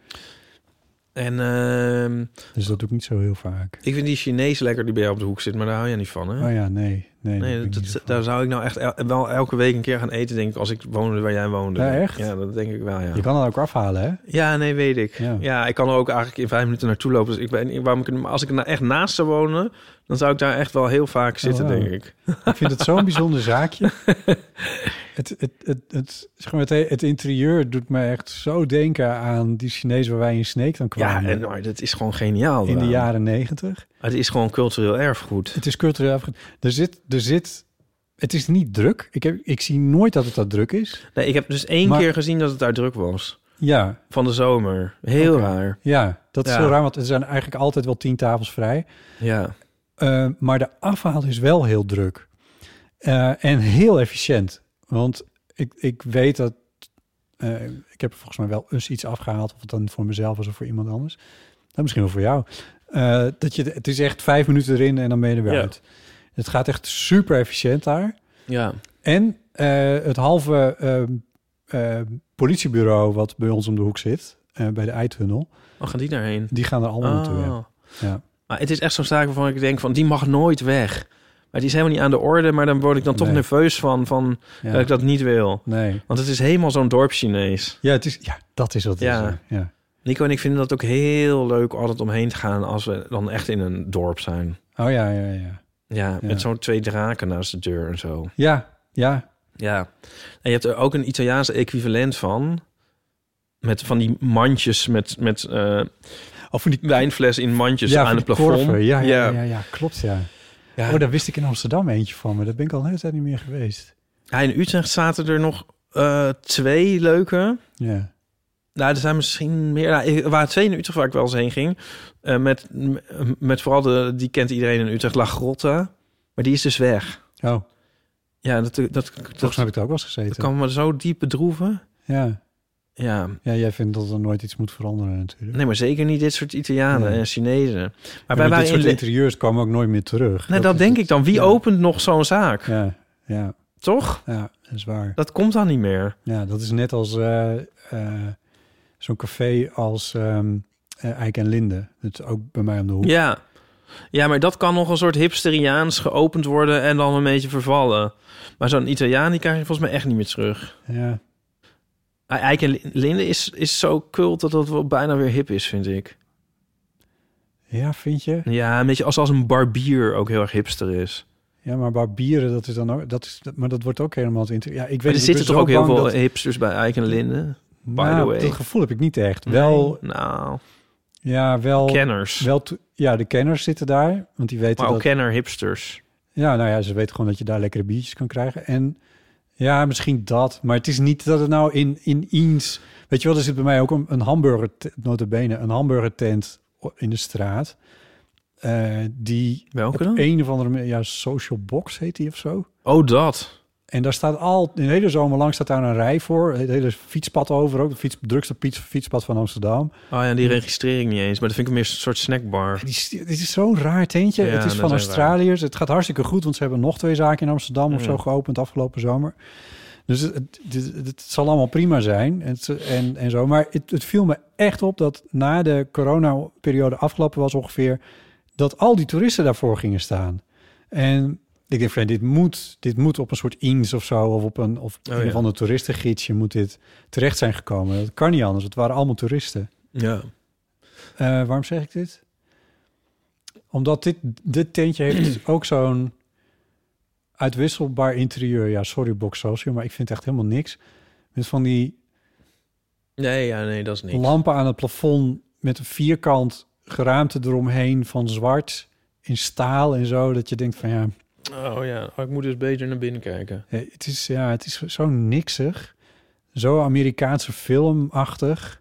S2: En ehm,
S3: Dus dat doe ik niet zo heel vaak.
S2: ik vind die Chinees lekker die bij jou op de hoek zit, maar daar hou jij niet van, hè?
S3: Oh ja, nee. Nee,
S2: Nee,
S3: dat doe ik
S2: dat,
S3: niet zo
S2: dat- daar zou ik nou echt el- wel elke week een keer gaan eten, denk ik, als ik woonde waar jij woonde.
S3: Ja, echt?
S2: Ja, dat denk ik wel, ja.
S3: vaak. Je kan het ook afhalen, hè?
S2: Ja, nee, weet ik.
S3: Ja.
S2: Ja. ik kan er ook eigenlijk in vijf minuten naartoe lopen. Dus ik ben, ik- waarom ik, maar als ik er nou echt naast zou wonen, dan zou ik daar echt wel heel vaak zitten,
S3: wauw.
S2: denk ik.
S3: Ik vind het zo'n bijzonder zaakje. Het, het, het, het, zeg maar, het, het interieur doet me echt zo denken aan die Chinees waar wij in Sneek dan
S2: Ja,
S3: kwamen.
S2: en nou, dat is gewoon geniaal.
S3: in de
S2: daar.
S3: jaren negentig.
S2: Het is gewoon cultureel erfgoed.
S3: Het is cultureel afge... Er zit, er zit... Het is niet druk. Ik, heb, ik zie nooit dat het dat druk is.
S2: Nee, ik heb dus één
S3: Maar-
S2: keer gezien dat het daar druk was.
S3: Ja,
S2: Van de zomer. Heel raar.
S3: ja dat is
S2: Ja.
S3: zo raar, want er zijn eigenlijk altijd wel tien tafels vrij.
S2: Ja.
S3: Eh, maar de afhaal is wel heel druk. Eh, en heel efficiënt. Want ik, ik weet dat... eh, ik heb volgens mij wel eens iets afgehaald. Of het dan voor mezelf was of voor iemand anders. Nou, misschien wel voor jou. Eh, dat je, het is echt vijf minuten erin en dan ben je er weer
S2: Ja.
S3: uit. Het gaat echt super efficiënt daar.
S2: Ja.
S3: En eh, het halve ehm, ehm, politiebureau wat bij ons om de hoek zit, eh, bij de Eitunnel,
S2: Oh, gaan die daarheen?
S3: die gaan er allemaal naartoe.
S2: Oh.
S3: ja. Ja.
S2: Maar het is echt zo'n zaak waarvan ik denk van, die mag nooit weg. Maar die is helemaal niet aan de orde, maar dan word ik dan toch
S3: Nee.
S2: nerveus van, van
S3: Ja.
S2: dat ik dat niet wil.
S3: Nee.
S2: Want het is helemaal zo'n dorp Chinees.
S3: Ja, het is, ja, dat is wat het
S2: Ja.
S3: is. hè. Ja.
S2: Nico en ik vinden dat ook heel leuk altijd omheen te gaan als we dan echt in een dorp zijn.
S3: Oh ja, ja, ja.
S2: Ja,
S3: Ja.
S2: met zo'n twee draken naast de deur en zo.
S3: Ja, ja.
S2: Ja. En je hebt er ook een Italiaanse equivalent van. Met van die mandjes met, met eh,
S3: Of Oh, van die
S2: wijnfles in mandjes
S3: ja, van
S2: Dus aan het
S3: die
S2: plafond.
S3: korven. Ja, ja,
S2: Ja.
S3: ja, ja, klopt, ja.
S2: Ja.
S3: Oh, daar wist ik in Amsterdam eentje van, maar daar ben ik al een hele tijd niet meer geweest.
S2: Ja, in Utrecht zaten er nog eh, twee leuke.
S3: Ja,
S2: Nou, er zijn misschien meer. Nou, er waren twee in Utrecht waar ik wel eens heen ging. Eh, met, met vooral de, die kent iedereen in Utrecht, La Grotta. Maar die is dus weg.
S3: oh,
S2: Ja, dat, dat, dat,
S3: volgens mij heb ik daar ook wel eens gezeten.
S2: dat kan me zo diep bedroeven.
S3: Ja.
S2: Ja,
S3: ja, jij vindt dat er nooit iets moet veranderen natuurlijk.
S2: nee, maar zeker niet dit soort Italianen
S3: Nee.
S2: en Chinezen. Maar wij
S3: Maar dit
S2: waren in
S3: soort
S2: Le-
S3: interieurs komen ook nooit meer terug.
S2: Nee, dat,
S3: is
S2: denk
S3: het.
S2: ik dan. Wie
S3: Ja.
S2: opent nog zo'n zaak?
S3: Ja, ja,
S2: Toch?
S3: ja, dat is waar.
S2: Dat komt dan niet meer.
S3: Ja, dat is net als eh, eh, zo'n café als ehm eh, Eik en Linde. Dat is ook bij mij om de hoek.
S2: Ja. Ja, maar dat kan nog een soort hipsteriaans geopend worden en dan een beetje vervallen. Maar zo'n Italiaan, die krijg je volgens mij echt niet meer terug.
S3: Ja,
S2: Ah, Eik en Lin- Linde is, is zo cult dat dat wel bijna weer hip is, vind ik.
S3: ja vind je?
S2: Ja, een beetje als, als een barbier ook heel erg hipster is.
S3: Ja, maar barbieren, dat is dan ook... Dat is, dat- maar dat wordt ook helemaal... het inter- Ja, ik weet
S2: Maar er
S3: niet, ik
S2: zitten toch
S3: ben zo
S2: ook heel
S3: bang
S2: veel
S3: dat-
S2: hipsters bij Eik en Linde?
S3: Nou,
S2: the way.
S3: Dat gevoel heb ik niet echt. Wel,
S2: Nee. Nou,
S3: ja, wel...
S2: kenners.
S3: Wel to- ja, de kenners zitten daar, want die weten
S2: maar ook
S3: dat...
S2: kenner hipsters.
S3: Ja, nou ja, ze weten gewoon dat je daar lekkere biertjes kan krijgen. En ja, misschien dat. Maar het is niet dat het nou in, in eens... Weet je wel, er zit bij mij ook een, een hamburger... Notabene, een hamburger tent in de straat. eh, die
S2: Welke
S3: op
S2: dan?
S3: een of andere manier... Ja, Social Box heet die of zo.
S2: Oh, dat.
S3: En daar staat al... De hele zomer lang staat daar een rij voor. Het hele fietspad over ook. Het fiets, drukste fiets, fietspad van Amsterdam.
S2: Oh ja, die registreer ik niet eens. Maar dat vind ik meer een soort snackbar.
S3: Die, is- dit is zo'n raar tentje.
S2: Ja,
S3: het is
S2: dat
S3: van
S2: is
S3: Australiërs. Het gaat hartstikke goed, want ze hebben nog twee zaken in Amsterdam of
S2: Ja.
S3: zo geopend afgelopen zomer. Dus het, het, het- het zal allemaal prima zijn en, het- en, en zo. Maar het, het viel me echt op dat na de coronaperiode afgelopen was ongeveer... dat al die toeristen daarvoor gingen staan. En ik denk van, dit moet, dit moet op een soort ins of zo... of op een, of
S2: Oh,
S3: een
S2: ja.
S3: of ander toeristengidsje moet dit terecht zijn gekomen. Dat kan niet anders, het waren allemaal toeristen.
S2: Ja.
S3: Eh, waarom zeg ik dit? Omdat dit, dit tentje heeft dus ook zo'n uitwisselbaar interieur. Ja, sorry Box Social, maar ik vind het echt helemaal niks. Met van die
S2: Nee, ja, nee, dat is niet.
S3: lampen aan het plafond met een vierkant geraamte eromheen van zwart in staal en zo. Dat je denkt van ja,
S2: Oh ja, oh, ik moet dus beter naar binnen kijken.
S3: eh, het is, ja, het is zo niksig. Zo Amerikaanse filmachtig.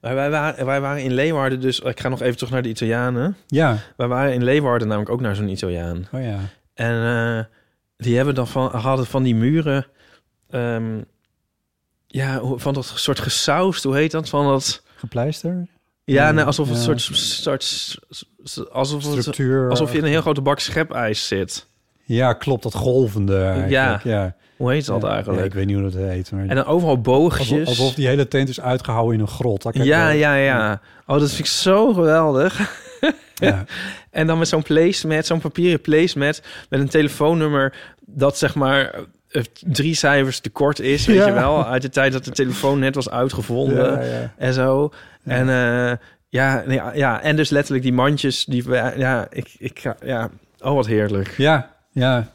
S2: Maar wij, waren, wij waren in Leeuwarden dus... Ik ga nog even terug naar de Italianen.
S3: Ja,
S2: Wij waren in Leeuwarden namelijk ook naar zo'n Italiaan.
S3: oh ja.
S2: En eh, die hebben dan van, hadden van die muren... ehm, ja, hoe- van dat soort gesausd, hoe heet dat? Van dat...
S3: Gepleister,
S2: Ja,
S3: Ja,
S2: nee, alsof het
S3: ja.
S2: soort... soort s- s- alsof, het,
S3: structuur.
S2: alsof je in een heel grote bak schepijs zit.
S3: Ja, klopt. Dat golvende eigenlijk. Ja. ja.
S2: Hoe heet dat
S3: Ja,
S2: eigenlijk?
S3: ik weet niet hoe dat heet. Maar
S2: en dan overal
S3: alsof,
S2: boogjes.
S3: alsof die hele tent is uitgehouden in een grot. Daar kijk ik
S2: ja,
S3: wel-
S2: ja, ja. Oh, dat vind ik zo geweldig.
S3: ja.
S2: En dan met zo'n placemat, zo'n papieren placemat... met een telefoonnummer dat zeg maar eh, drie cijfers te kort is. Weet
S3: Ja.
S2: je wel? Uit de tijd dat de telefoon net was uitgevonden.
S3: Ja, ja.
S2: en zo. En eh, ja, nee, ja, en dus letterlijk die mandjes. Die, we- ja, ik, ik, ga- ja, oh wat heerlijk.
S3: Ja, ja,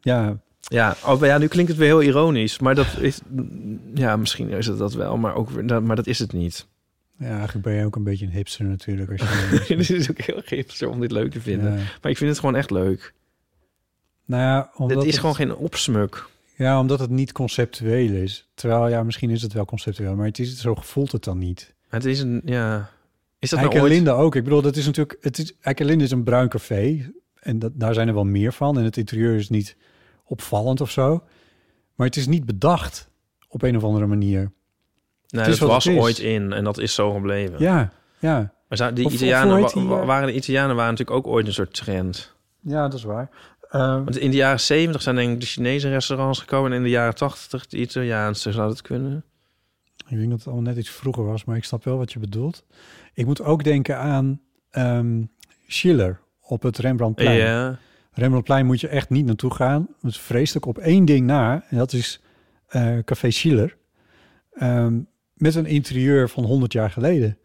S3: ja.
S2: Ja, oh, maar ja, nu klinkt het weer heel ironisch. Maar dat is, ja, misschien is het dat wel, maar, ook, weer- dat- maar dat is het niet.
S3: Ja, eigenlijk ben je ook een beetje een hipster natuurlijk. Als je
S2: Het is ook heel giftig om dit leuk te vinden.
S3: Ja.
S2: Maar ik vind het gewoon echt leuk.
S3: Nou ja, omdat
S2: Dit is
S3: het,
S2: gewoon geen opsmuk.
S3: ja, omdat het niet conceptueel is. Terwijl, ja, misschien is het wel conceptueel, maar het is, zo voelt het dan niet.
S2: Het is een, ja... Is dat nou
S3: Eike
S2: ooit...
S3: Linde ook. Ik bedoel, dat is natuurlijk... Het is, Eike Linde is een bruin café. En dat, daar zijn er wel meer van. En het interieur is niet opvallend of zo. Maar het is niet bedacht op een of andere manier.
S2: Nee,
S3: het
S2: dat
S3: is wat
S2: was
S3: het is.
S2: ooit in en dat is zo gebleven.
S3: Ja, ja.
S2: Maar zou- die
S3: Of- of hoe
S2: Italianen,
S3: heet die,
S2: wa-
S3: eh?
S2: waren de Italianen waren natuurlijk ook ooit een soort trend.
S3: Ja, dat is waar. Ehm,
S2: Want in de jaren 70 zijn denk ik de Chinese restaurants gekomen... en in de jaren 80 de Italiaanse zou dat kunnen.
S3: Ik denk dat het allemaal net iets vroeger was, maar ik snap wel wat je bedoelt. Ik moet ook denken aan ehm, Schiller op het Rembrandtplein.
S2: Ja,
S3: Rembrandtplein moet je echt niet naartoe gaan. Het is vreselijk op één ding na, en dat is eh, Café Schiller. Ehm, met een interieur van 100 jaar geleden.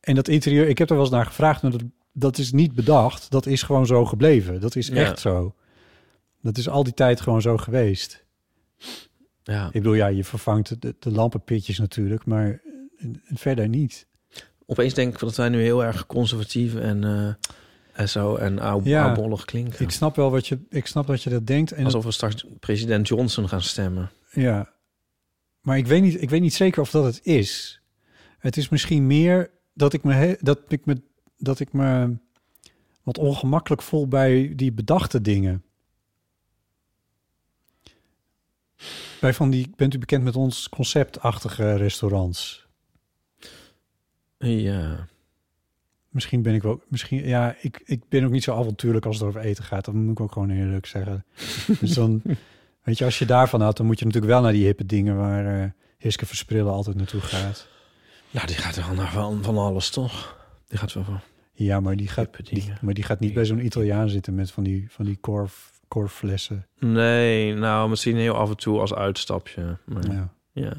S3: En dat interieur, ik heb er wel eens naar gevraagd, maar dat, dat is niet bedacht. Dat is gewoon zo gebleven. Dat is
S2: Ja.
S3: echt zo. Dat is al die tijd gewoon zo geweest.
S2: ja.
S3: Ik bedoel, ja, je vervangt de, de lampenpitjes natuurlijk, maar eh, verder niet.
S2: Opeens denk ik dat wij nu heel erg conservatief en, eh, en zo... en oud
S3: Ja.
S2: oudbollig klinken.
S3: Ik snap wel wat je, ik snap dat je dat denkt. En
S2: Alsof we straks president Johnson gaan stemmen.
S3: ja. Maar ik weet, niet, ik weet niet zeker of dat het is. Het is misschien meer dat ik me, he- dat ik me, dat ik me wat ongemakkelijk voel bij die bedachte dingen. Bij van die, bent u bekend met ons conceptachtige restaurants?
S2: Ja.
S3: Misschien ben ik wel, misschien, ja, ik, ik ben ook niet zo avontuurlijk als het over eten gaat. Dat moet ik ook gewoon eerlijk zeggen. dus dan, weet je, als je daarvan houdt, dan moet je natuurlijk wel naar die hippe dingen waar eh Hiske Versprillen altijd naartoe gaat.
S2: Nou, die gaat wel naar van, van alles, toch? Die gaat wel van...
S3: Ja, maar die gaat,
S2: Hippe
S3: die,
S2: dingen.
S3: maar die gaat niet bij zo'n Italiaan zitten met van die, van die korf, korfflessen.
S2: Nee, nou, misschien heel af en toe als uitstapje. Maar,
S3: Ja,
S2: ja.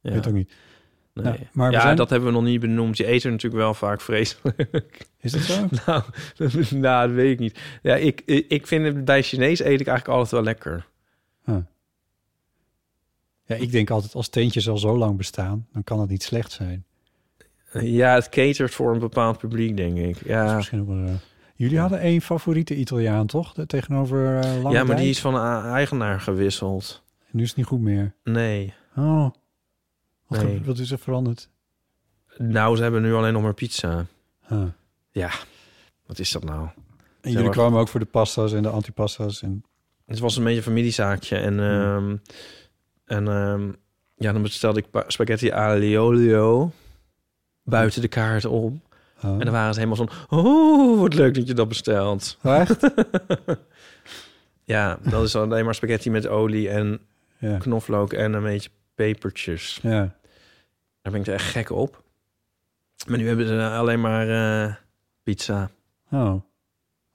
S2: ja.
S3: weet ook niet.
S2: nee.
S3: Nou, maar we
S2: ja,
S3: zijn-
S2: dat hebben we nog niet benoemd. Die eten natuurlijk wel vaak vreselijk.
S3: Is dat zo?
S2: Nou, nou, dat weet ik niet. Ja, ik, ik vind het bij Chinees eet ik eigenlijk altijd wel lekker.
S3: ja, ik denk altijd, als teentjes al zo lang bestaan, dan kan het niet slecht zijn.
S2: Ja, het catert voor een bepaald publiek, denk ik.
S3: Dat is
S2: Ja,
S3: misschien ook wel, eh, Jullie hadden één favoriete Italiaan, toch? De- Tegenover eh Lange
S2: ja maar die
S3: Dijk?
S2: is van a- eigenaar gewisseld.
S3: Nu is het niet goed meer.
S2: Nee.
S3: Oh, wat,
S2: Nee.
S3: ge- wat is er veranderd?
S2: Nou, ze hebben nu alleen nog maar pizza.
S3: Huh.
S2: Ja, wat is dat nou?
S3: En
S2: Heel
S3: jullie
S2: erg.
S3: kwamen ook voor de pasta's en de antipasta's. En...
S2: Het was een beetje een familiezaakje.
S3: Mm.
S2: En, ehm, en ehm, ja, dan bestelde ik pa- spaghetti aliolio buiten de kaart om.
S3: Oh.
S2: En dan waren ze helemaal van... Oh, wat leuk dat je dat bestelt.
S3: Oh, echt?
S2: Ja, dat is alleen maar spaghetti met olie en
S3: ja.
S2: knoflook en een beetje pepertjes.
S3: ja.
S2: Daar ben ik er echt gek op. Maar nu hebben ze alleen maar eh, pizza.
S3: Oh,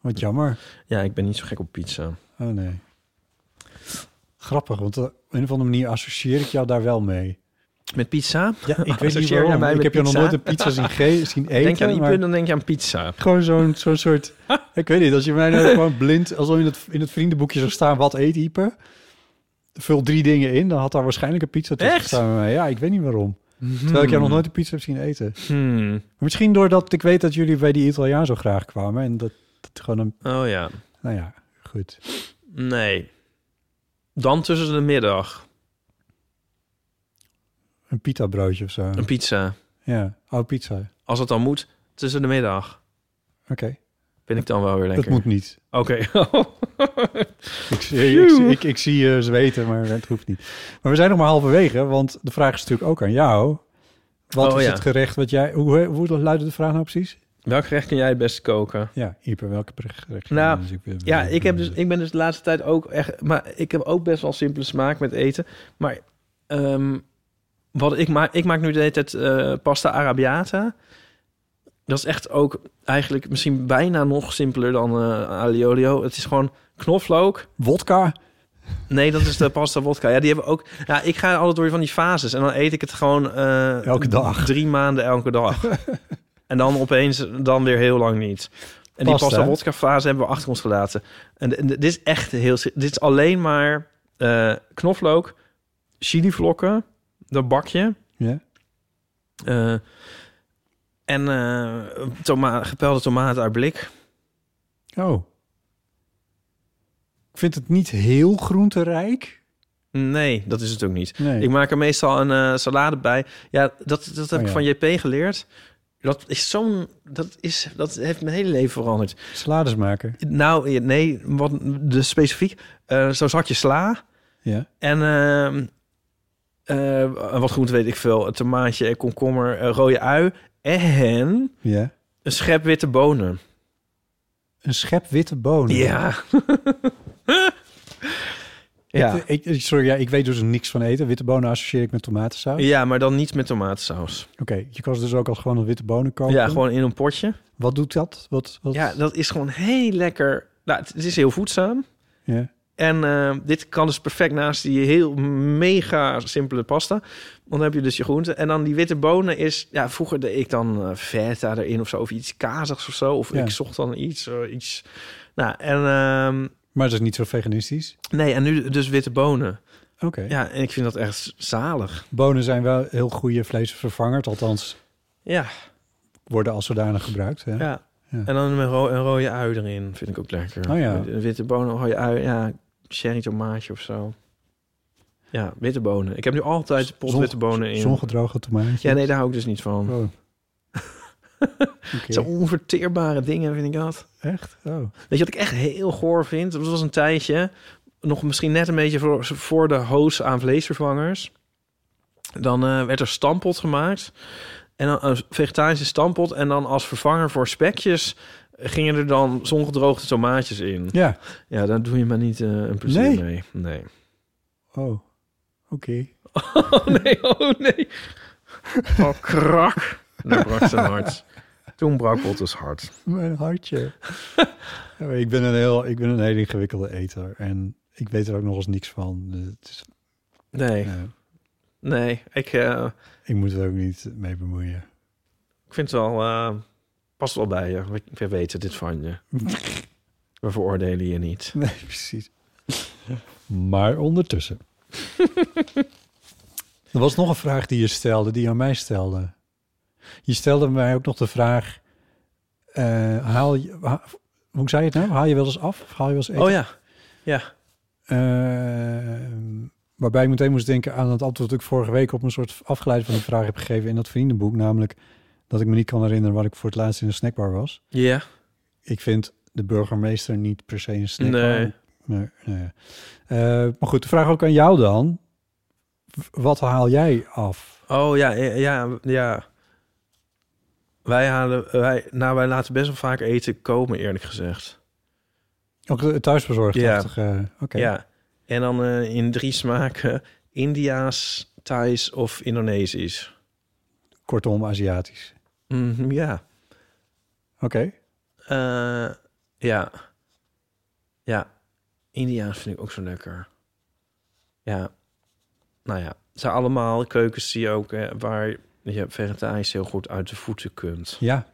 S3: wat jammer.
S2: Ja, ik ben niet zo gek op pizza.
S3: Oh nee. Grappig, want eh, op een of andere manier associeer ik jou daar wel mee.
S2: Met pizza?
S3: Ja, ik weet
S2: Associeer
S3: niet
S2: je
S3: waarom.
S2: mij
S3: ik
S2: met
S3: heb je nog
S2: pizza?
S3: nooit een pizza zien, ge- zien eten.
S2: denk je aan
S3: maar
S2: Ipe, dan denk je aan pizza.
S3: Gewoon zo'n zo'n soort... ik weet niet, als je mij nou gewoon blind... Als in het, in het vriendenboekje zou staan, wat eet Ieper? Vul drie dingen in, dan had daar waarschijnlijk een pizza tussen
S2: Echt? Mhm.
S3: gestaan bij mij. Ja, ik weet niet waarom. Terwijl ik jou nog nooit een pizza heb zien eten.
S2: Hmm.
S3: Maar Misschien doordat ik weet dat jullie bij die Italiaan zo graag kwamen. En dat, dat gewoon een...
S2: Oh ja,
S3: Nou ja, goed.
S2: nee. Dan tussen de middag
S3: Een pita broodje of zo.
S2: een pizza.
S3: Ja, oude pizza. Oké.
S2: Als het dan moet, tussen de middag. Vind ik dan wel weer
S3: Dat
S2: lekker.
S3: moet niet.
S2: Oké.
S3: Ik, zie- ik, zie- ik, ik zie je zweten, maar het hoeft niet. Maar we zijn nog maar halverwege, want de vraag is natuurlijk ook aan jou. Wat
S2: Oh,
S3: is
S2: ja.
S3: het gerecht wat jij... Hoe, hoe luidde de vraag nou precies?
S2: Welk gerecht kun jij het beste koken?
S3: Ja, Ieper, welke gerecht?
S2: Nou, Ja, ik, heb dus, ik ben dus de laatste tijd ook echt... Maar ik heb ook best wel simpele smaak met eten. Maar ehm, wat ik maak... Ik maak nu de hele tijd eh, pasta arabiata. Dat is echt ook eigenlijk misschien bijna nog simpeler dan eh aglio olio. Het is gewoon knoflook.
S3: Wodka?
S2: Nee, dat is de pasta wodka. Ja, die hebben we ook... Ja, ik ga altijd door van die fases. En dan eet ik het gewoon... eh,
S3: Elke dag.
S2: Drie maanden elke dag. en dan opeens dan weer heel lang niet. En
S3: Pasta,
S2: die
S3: hè?
S2: pasta wodka fase hebben we achter ons gelaten. En, d- en d- dit is echt heel... si- Dit is alleen maar eh, knoflook, chilivlokken, dat bakje...
S3: Ja.
S2: eh, en eh, toma gepelde tomaten uit blik.
S3: Oh. Ik vind het niet heel groenterijk.
S2: Nee, dat is het ook niet.
S3: Nee.
S2: Ik maak er meestal een eh, salade bij. Ja, dat, dat heb
S3: Oh,
S2: ik
S3: ja.
S2: van JP geleerd. Dat is zo'n... Dat, is, dat heeft mijn hele leven veranderd.
S3: Salades maken.
S2: Nou, eh, nee, wat de specifiek. eh Zo'n zakje sla
S3: Ja.
S2: en ehm, eh, wat groente weet ik veel. Een tomaatje, een komkommer, een rode ui en
S3: Ja.
S2: een schep witte bonen.
S3: Een schep witte bonen.
S2: Ja. ja.
S3: Ik, ik- sorry, ja, ik weet dus niks van eten. Witte bonen associeer ik met tomatensaus.
S2: ja, maar dan niet met tomatensaus.
S3: Oké, je kan ze dus ook als gewoon een witte bonen kopen.
S2: Ja, gewoon in een potje.
S3: Wat doet dat? Wat, wat,
S2: Ja, dat is gewoon heel lekker. Nou, het, het is heel voedzaam.
S3: ja.
S2: En eh, dit kan dus perfect naast die heel mega simpele pasta. Dan heb je dus je groenten. En dan die witte bonen is... Ja, vroeger deed ik dan eh feta erin of zo. Of iets kazigs of zo. Of
S3: Ja.
S2: ik zocht dan iets. eh, iets. Nou, en... ehm,
S3: Maar dat is niet zo veganistisch.
S2: nee, en nu dus witte bonen.
S3: Oké.
S2: Ja, en ik vind dat echt zalig.
S3: Bonen zijn wel heel goede vleesvervangers. Althans,
S2: Ja,
S3: worden als zodanig gebruikt. Hè?
S2: ja.
S3: Ja.
S2: En dan een, ro- een rode ui erin. Vind ik ook lekker.
S3: Oh ja.
S2: Een witte bonen, een rode ui. Ja, sherry tomaatje of zo. Ja, witte bonen. Ik heb nu altijd pot
S3: Zon-
S2: witte bonen in.
S3: Zongedroogde tomaatjes.
S2: Ja, nee, daar hou ik dus niet van.
S3: Oh. Oké.
S2: Zo onverteerbare dingen vind ik dat.
S3: Echt? Oh.
S2: Weet je wat ik echt heel goor vind? Dat was een tijdje, nog misschien net een beetje voor, voor de hoos aan vleesvervangers. Dan eh, werd er stampot gemaakt. En dan een vegetarische stampot. En dan als vervanger voor spekjes gingen er dan zongedroogde tomaatjes in.
S3: Ja.
S2: Ja, daar doe je maar niet eh, een plezier
S3: Nee.
S2: mee. Nee.
S3: Oh. Oké.
S2: Oh nee, oh nee. Oh krak. Daar brak zijn hart. Toen brak Bottes hart.
S3: Mijn hartje. Ja, maar ik, ben een heel, ik ben een heel ingewikkelde eter. En ik weet er ook nog eens niks van. Dus het is,
S2: Nee,
S3: eh,
S2: nee. Ik, eh,
S3: ik moet er ook niet mee bemoeien.
S2: ik vind het wel... eh, past wel bij je. We, we weten dit van je. We veroordelen je niet.
S3: Nee, precies. Maar ondertussen. er was nog een vraag die je stelde, die je aan mij stelde. Je stelde mij ook nog de vraag... eh, haal je, ha- hoe zei je het nou? Haal je wel eens af? Of haal je wel eens eten?
S2: Oh ja. Ja.
S3: Ehm, waarbij ik meteen moest denken aan het antwoord dat ik vorige week op een soort afgeleid van die vraag heb gegeven in dat vriendenboek. Namelijk dat ik me niet kan herinneren wat ik voor het laatst in een snackbar was.
S2: Ja.
S3: Ik vind de burgemeester niet per se een snackbar.
S2: Nee.
S3: Nee, nee. Eh, maar goed, de vraag ook aan jou dan. W- Wat haal jij af?
S2: Oh ja, ja, ja, ja. Wij halen... Wij, nou, wij laten best wel vaak eten komen, eerlijk gezegd.
S3: Ook eh, thuisbezorgd.
S2: Ja.
S3: achtig, eh, Oké.
S2: Ja. En dan eh, in drie smaken. India's, Thais of Indonesisch.
S3: Kortom, Aziatisch.
S2: Mhm, ja.
S3: Oké.
S2: Eh, ja. Ja. Indiaans vind ik ook zo lekker. Ja. Nou ja. Het zijn allemaal keukens die ook, eh, waar je vegetarisch heel goed uit de voeten kunt.
S3: Ja.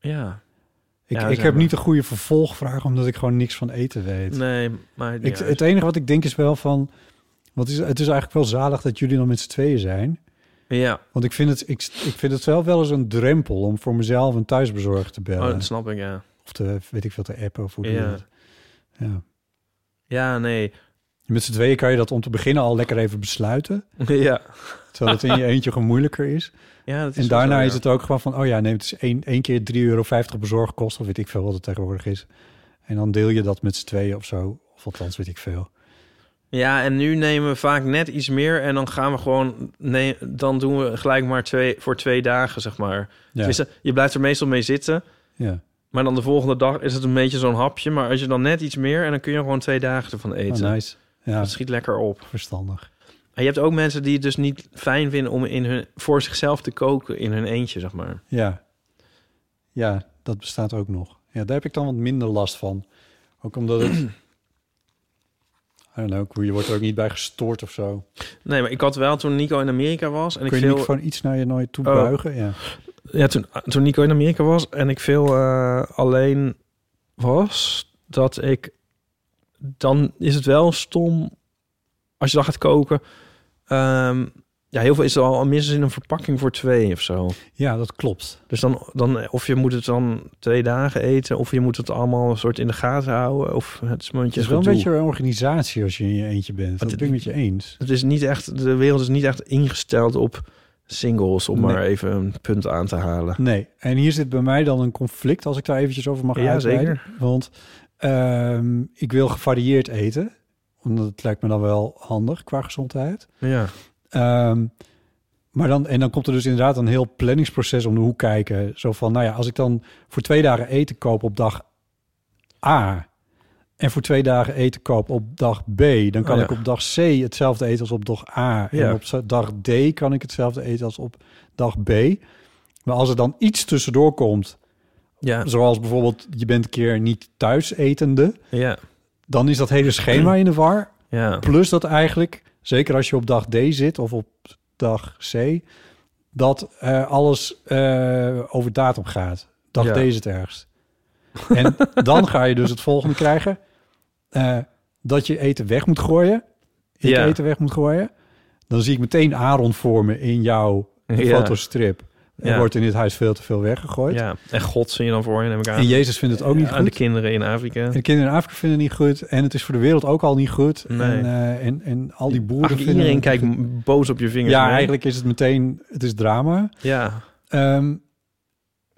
S2: Ja.
S3: Ik,
S2: Ja,
S3: ik
S2: zeg
S3: heb
S2: maar.
S3: niet de goede vervolgvraag omdat ik gewoon niks van eten weet.
S2: Nee, maar
S3: Ik, het enige wat ik denk is wel van... Want het is, het is eigenlijk wel zalig dat jullie dan met z'n tweeën zijn.
S2: ja, Oh,
S3: Want ik vind, het, ik, ik vind het wel wel eens een drempel om voor mezelf een thuisbezorger te
S2: oh,
S3: bellen.
S2: dat snap ik, ja.
S3: Of te, weet ik veel, te appen of hoe doe je
S2: Ja,
S3: dat. Ja.
S2: ja nee.
S3: Met z'n tweeën kan je dat om te beginnen al lekker even besluiten.
S2: ja.
S3: Terwijl het in je eentje gewoon moeilijker is.
S2: ja dat is
S3: en
S2: wel
S3: daarna
S2: zo,
S3: is
S2: ja.
S3: het ook gewoon van... Oh ja, nee, het is één, één keer 3,50 euro bezorgkost. Of weet ik veel wat het tegenwoordig is. En dan deel je dat met z'n tweeën of zo. Of althans, weet ik veel.
S2: Ja, en nu nemen we vaak net iets meer en dan gaan we gewoon... Nee, dan doen we gelijk maar twee, voor twee dagen, zeg maar.
S3: Ja,
S2: Tenminste, je blijft er meestal mee zitten,
S3: ja.
S2: maar dan de volgende dag is het een beetje zo'n hapje. Maar als je dan net iets meer en dan kun je gewoon twee dagen ervan
S3: Oh,
S2: eten.
S3: nice. Ja,
S2: Dat schiet lekker op.
S3: verstandig.
S2: En je hebt ook mensen die het dus niet fijn vinden om in hun, voor zichzelf te koken in hun eentje, zeg maar.
S3: Ja. ja, dat bestaat ook nog. Ja, daar heb ik dan wat minder last van. Ook omdat het... I don't know, je wordt er ook niet bij gestoord of zo.
S2: Nee, maar ik had wel toen Nico in Amerika was en
S3: Kun
S2: ik
S3: je
S2: veel.
S3: niet gewoon iets naar je nooit toe
S2: Oh.
S3: buigen? Ja.
S2: Ja, toen, toen Nico in Amerika was en ik veel eh, alleen was, dat ik. Dan is het wel stom als je dan gaat koken. ehm, ja, heel veel is er al minstens in een verpakking voor twee of zo.
S3: ja, dat klopt.
S2: Dus dan, dan, of je moet het dan twee dagen eten, of je moet het allemaal een soort in de gaten houden. Of het is
S3: Het is
S2: mondjes
S3: wel een
S2: gedoe.
S3: beetje een organisatie als je in je eentje bent. Dat
S2: dit-
S3: ben ik met je eens.
S2: Het is niet echt, de wereld is niet echt ingesteld op singles, om
S3: Nee.
S2: maar even een punt aan te halen.
S3: Nee, en hier zit bij mij dan een conflict als ik daar eventjes over mag uitweiden. Want ehm, ik wil gevarieerd eten. Omdat het lijkt me dan wel handig qua gezondheid.
S2: Ja.
S3: Ehm, maar dan, en dan komt er dus inderdaad een heel planningsproces om de hoek kijken. Zo van, nou ja, als ik dan voor twee dagen eten koop op dag A... en voor twee dagen eten koop op dag B... dan kan
S2: Oh ja.
S3: ik op dag C hetzelfde eten als op dag A.
S2: Ja.
S3: En op z- dag D kan ik hetzelfde eten als op dag B. Maar als er dan iets tussendoor komt...
S2: Ja,
S3: zoals bijvoorbeeld je bent een keer niet thuis etende...
S2: ja,
S3: dan is dat hele schema in de war.
S2: ja.
S3: Plus dat eigenlijk, zeker als je op dag D zit of op dag C, dat eh, alles eh, over datum gaat. Dag
S2: Ja.
S3: D is het ergst. En dan ga je dus het volgende krijgen. eh, dat je eten weg moet gooien. Ik
S2: Ja.
S3: eten weg moet gooien. Dan zie ik meteen Aaron voor me in jouw
S2: Ja.
S3: fotostrip. Er
S2: Ja.
S3: wordt in dit huis veel te veel weggegooid.
S2: ja. En God zie je dan voor je, neem ik aan.
S3: En Jezus vindt het ook niet
S2: aan
S3: goed.
S2: de kinderen in Afrika.
S3: En de kinderen in Afrika vinden het niet goed. En het is voor de wereld ook al niet goed.
S2: Nee.
S3: En, eh, en, en al die boeren
S2: Eigenlijk iedereen
S3: vinden... het-
S2: kijkt m- boos op je vingers.
S3: Ja,
S2: mee.
S3: eigenlijk is het meteen... Het is drama.
S2: Ja,
S3: Ehm,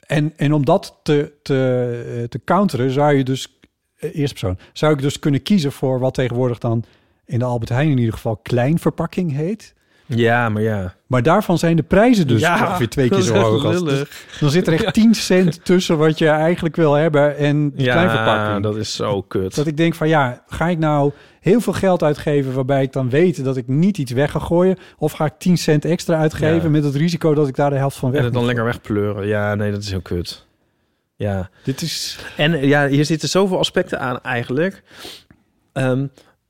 S3: en, en om dat te, te, eh, te counteren zou je dus... eh, Eerste persoon. Zou ik dus kunnen kiezen voor wat tegenwoordig dan... in de Albert Heijn in ieder geval kleinverpakking heet.
S2: ja maar ja.
S3: Maar daarvan zijn de prijzen dus
S2: ja,
S3: ongeveer twee keer
S2: dat is
S3: zo
S2: echt
S3: hoog. Als,
S2: lullig.
S3: dus dan zit er echt 10 cent tussen wat je eigenlijk wil hebben en de
S2: ja,
S3: kleinverpakking.
S2: dat is zo kut.
S3: Dat ik denk van ja, ga ik nou heel veel geld uitgeven waarbij ik dan weet dat ik niet iets weg ga gooien? Of ga ik 10 cent extra uitgeven
S2: Ja.
S3: met het risico dat ik daar de helft van weg
S2: en het dan
S3: moet
S2: lekker wegpleuren. Ja, nee, dat is heel kut. Ja.
S3: gooien? Dit is...
S2: En ja, hier zitten zoveel aspecten aan eigenlijk. Ehm,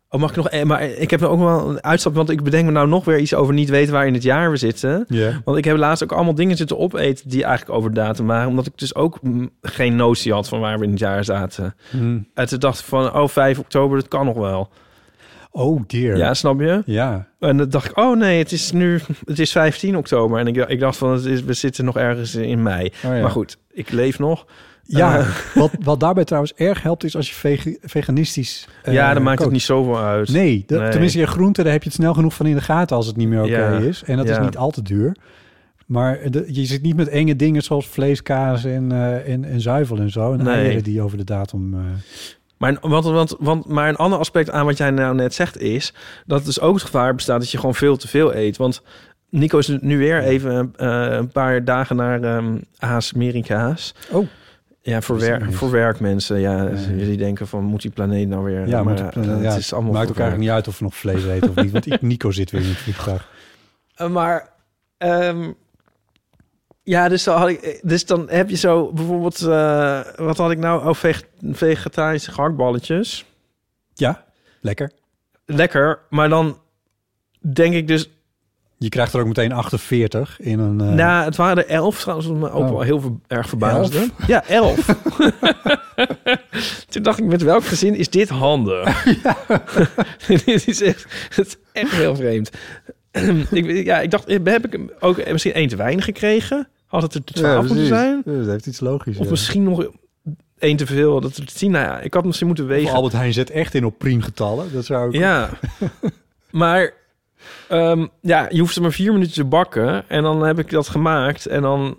S2: oh, mag ik nog... eh, Maar ik heb er ook wel een uitstap, want ik bedenk me nou nog weer iets over niet weten waar in het jaar we zitten.
S3: Ja.
S2: Want ik heb laatst ook allemaal dingen zitten opeten die eigenlijk over datum waren. Omdat ik dus ook mm, geen notie had van waar we in het jaar zaten.
S3: Hmm.
S2: En toen dacht ik van, oh 5 oktober, dat kan nog wel.
S3: Oh dear.
S2: Ja, snap je?
S3: Ja.
S2: En dan dacht ik, oh nee, het is nu het is 15 oktober. En ik, ik dacht van, het is, we zitten nog ergens in mei.
S3: ja.
S2: Maar goed, ik leef nog.
S3: Ja,
S2: Eh,
S3: wat, wat daarbij trouwens erg helpt is als je vege- veganistisch eh,
S2: ja, dan maakt
S3: kookt.
S2: het niet zoveel uit.
S3: Nee, dat-
S2: Nee.
S3: tenminste je groente, daar heb je het snel genoeg van in de gaten als het niet meer oké
S2: Ja.
S3: is. En dat is
S2: Ja.
S3: niet al te duur. Maar de- je zit niet met enge dingen zoals vleeskaas en, eh, en, en zuivel en zo. En
S2: Nee.
S3: eieren die over de datum... eh,
S2: Maar, een- want, want, want, maar een ander aspect aan wat jij nou net zegt is... dat het dus ook het gevaar bestaat dat je gewoon veel te veel eet. Want Nico is nu weer even eh, een paar dagen naar ehm Amerika's.
S3: Oh.
S2: Ja, voor,
S3: Is dat
S2: werk,
S3: nice?
S2: voor werkmensen. Ja,
S3: Ja.
S2: die denken van, moet die planeet nou weer...
S3: Ja,
S2: maar,
S3: maar
S2: eh,
S3: ja,
S2: het is allemaal
S3: maakt ook
S2: voor werk.
S3: eigenlijk niet uit of we nog vlees eten of niet. Want ik, Nico zit weer in het vliegtuig.
S2: Eh, Maar ehm, ja, dus dan, had ik, eh, dus dan heb je zo bijvoorbeeld, eh, wat had ik nou? Oh, veg- vegetarische gehaktballetjes.
S3: Ja, lekker.
S2: Lekker, maar dan denk ik dus,
S3: Je krijgt er ook meteen 48 in een... eh,
S2: nou, het waren er elf trouwens, wat me ook
S3: Oh.
S2: wel heel ver- erg verbaasde. Ja, elf. Toen dacht ik, met welk gezin is dit handig? dit is echt, het is echt heel vreemd. ik, weet- ja, ik dacht, heb ik hem ook eh, misschien één te weinig gekregen? Had het er twaalf moeten zijn?
S3: Ja, dat heeft iets logisch.
S2: Of misschien nog één te veel. Dat het tien, nou ja, ik had misschien moeten wegen.
S3: Albert Heijn zet echt in op priemgetallen. Dat zou ik...
S2: Ja, maar ehm, ja, je hoeft er maar vier minuten te bakken. En dan heb ik dat gemaakt. En dan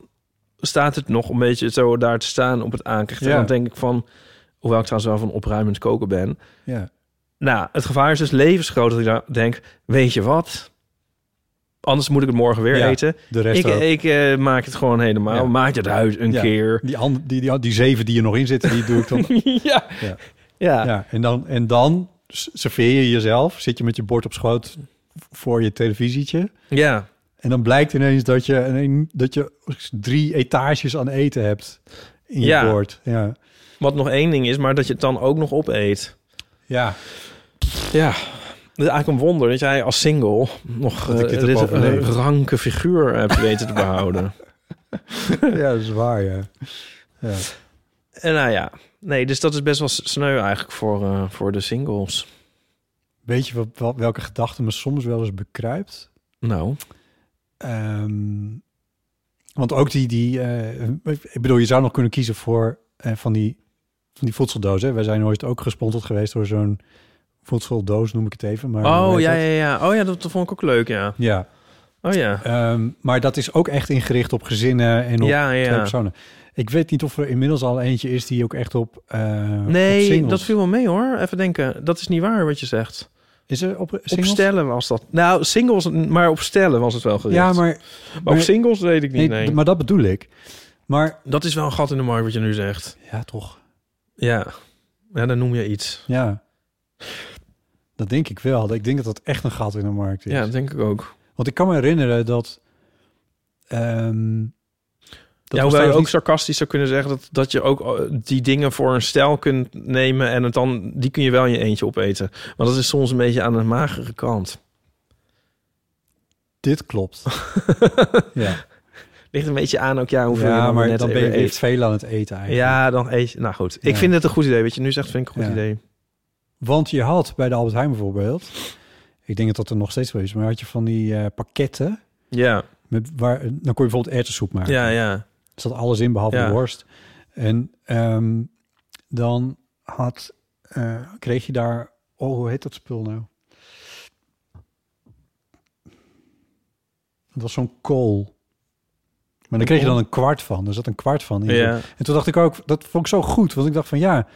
S2: staat het nog een beetje zo daar te staan op het aanrecht. En
S3: Ja.
S2: dan denk ik van, hoewel ik trouwens wel van opruimend koken ben.
S3: Ja.
S2: Nou, het gevaar is dus levensgroot dat ik dan denk, weet je wat? Anders moet ik het morgen weer
S3: Ja,
S2: eten.
S3: de rest
S2: Ik,
S3: ook.
S2: ik eh, maak het gewoon helemaal.
S3: Ja.
S2: Maak het uit een
S3: Ja,
S2: keer.
S3: Die, and- die, die, die zeven die er nog in zitten, die doe ik dan.
S2: ja.
S3: Ja.
S2: Ja.
S3: ja, en dan, en dan s- serveer je jezelf. Zit je met je bord op schoot voor je televisietje.
S2: ja.
S3: En dan blijkt ineens dat je, een- dat je drie etages aan eten hebt in je
S2: Ja.
S3: bord. Ja.
S2: Wat nog één ding is, maar dat je het dan ook nog opeet.
S3: ja,
S2: Ja. Het is eigenlijk een wonder dat jij als single nog
S3: Dat ik
S2: eh,
S3: dit heb
S2: eh,
S3: overleefd.
S2: ranke figuur hebt weten te behouden.
S3: ja dat is waar, ja. ja.
S2: En nou ja, nee, dus dat is best wel sneu eigenlijk voor, eh, voor de singles.
S3: Weet je wat, wat- welke gedachte me soms wel eens bekruipt?
S2: Nou,
S3: Ehm, want ook die, die eh, ik bedoel, je zou nog kunnen kiezen voor eh, van, die, van die voedseldozen. Wij zijn ooit ook gesponsord geweest door zo'n voedseldoos, noem ik het even. Maar hoe
S2: oh
S3: heet
S2: ja,
S3: dat?
S2: ja, ja. Oh ja, dat, dat vond ik ook leuk, ja.
S3: Ja,
S2: Oh ja.
S3: ehm, maar dat is ook echt ingericht op gezinnen en op
S2: Ja, ja.
S3: twee personen. Ik weet niet of er inmiddels al eentje is die ook echt op, eh op
S2: Nee,
S3: singles-
S2: dat viel wel mee hoor. Even denken, dat is niet waar wat je zegt.
S3: Is er op
S2: Op
S3: singles?
S2: stellen was dat. Nou, singles, maar op stellen was het wel gericht.
S3: Ja, maar,
S2: Maar op
S3: maar-
S2: singles weet ik
S3: nee,
S2: niet, nee.
S3: maar dat bedoel ik. Maar
S2: Dat is wel een gat in de markt wat je nu zegt.
S3: ja, toch.
S2: Ja, ja dan noem je iets.
S3: Ja. Dat denk ik wel. Ik denk dat dat echt een gat in de markt is.
S2: Ja, dat denk ik ook.
S3: Want ik kan me herinneren dat... ehm
S2: ja,
S3: was
S2: hoewel je
S3: trouwens
S2: ook
S3: niet-
S2: sarcastisch zou kunnen zeggen... Dat, dat je ook eh, die dingen voor een stijl kunt nemen... en het dan, die kun je wel in je eentje opeten. Maar dat is soms een beetje aan de magere kant.
S3: Dit klopt. ja,
S2: Ligt een beetje aan ook, ja, hoeveel je
S3: ja
S2: dan
S3: maar
S2: net
S3: dan ben je
S2: weer
S3: weer
S2: eet.
S3: veel aan het eten eigenlijk.
S2: Ja, dan eet je... Nou goed, ik
S3: Ja.
S2: vind het een goed idee. Wat je nu zegt, vind ik een goed
S3: Ja.
S2: idee.
S3: Want je had bij de Albert Heijn bijvoorbeeld... Ik denk dat dat er nog steeds wel is. Maar had je van die eh, pakketten...
S2: Ja,
S3: Met, waar, dan kon je bijvoorbeeld erwtensoep maken.
S2: ja, ja.
S3: Er zat alles in behalve
S2: Ja.
S3: de worst. En ehm, dan had, eh, kreeg je daar... Oh, hoe heet dat spul nou? Dat was zo'n kool. Maar dan kreeg je dan een kwart van. Er zat een kwart van in.
S2: Ja.
S3: zo'n- En toen dacht ik ook, dat vond ik zo goed. Want ik dacht van ja,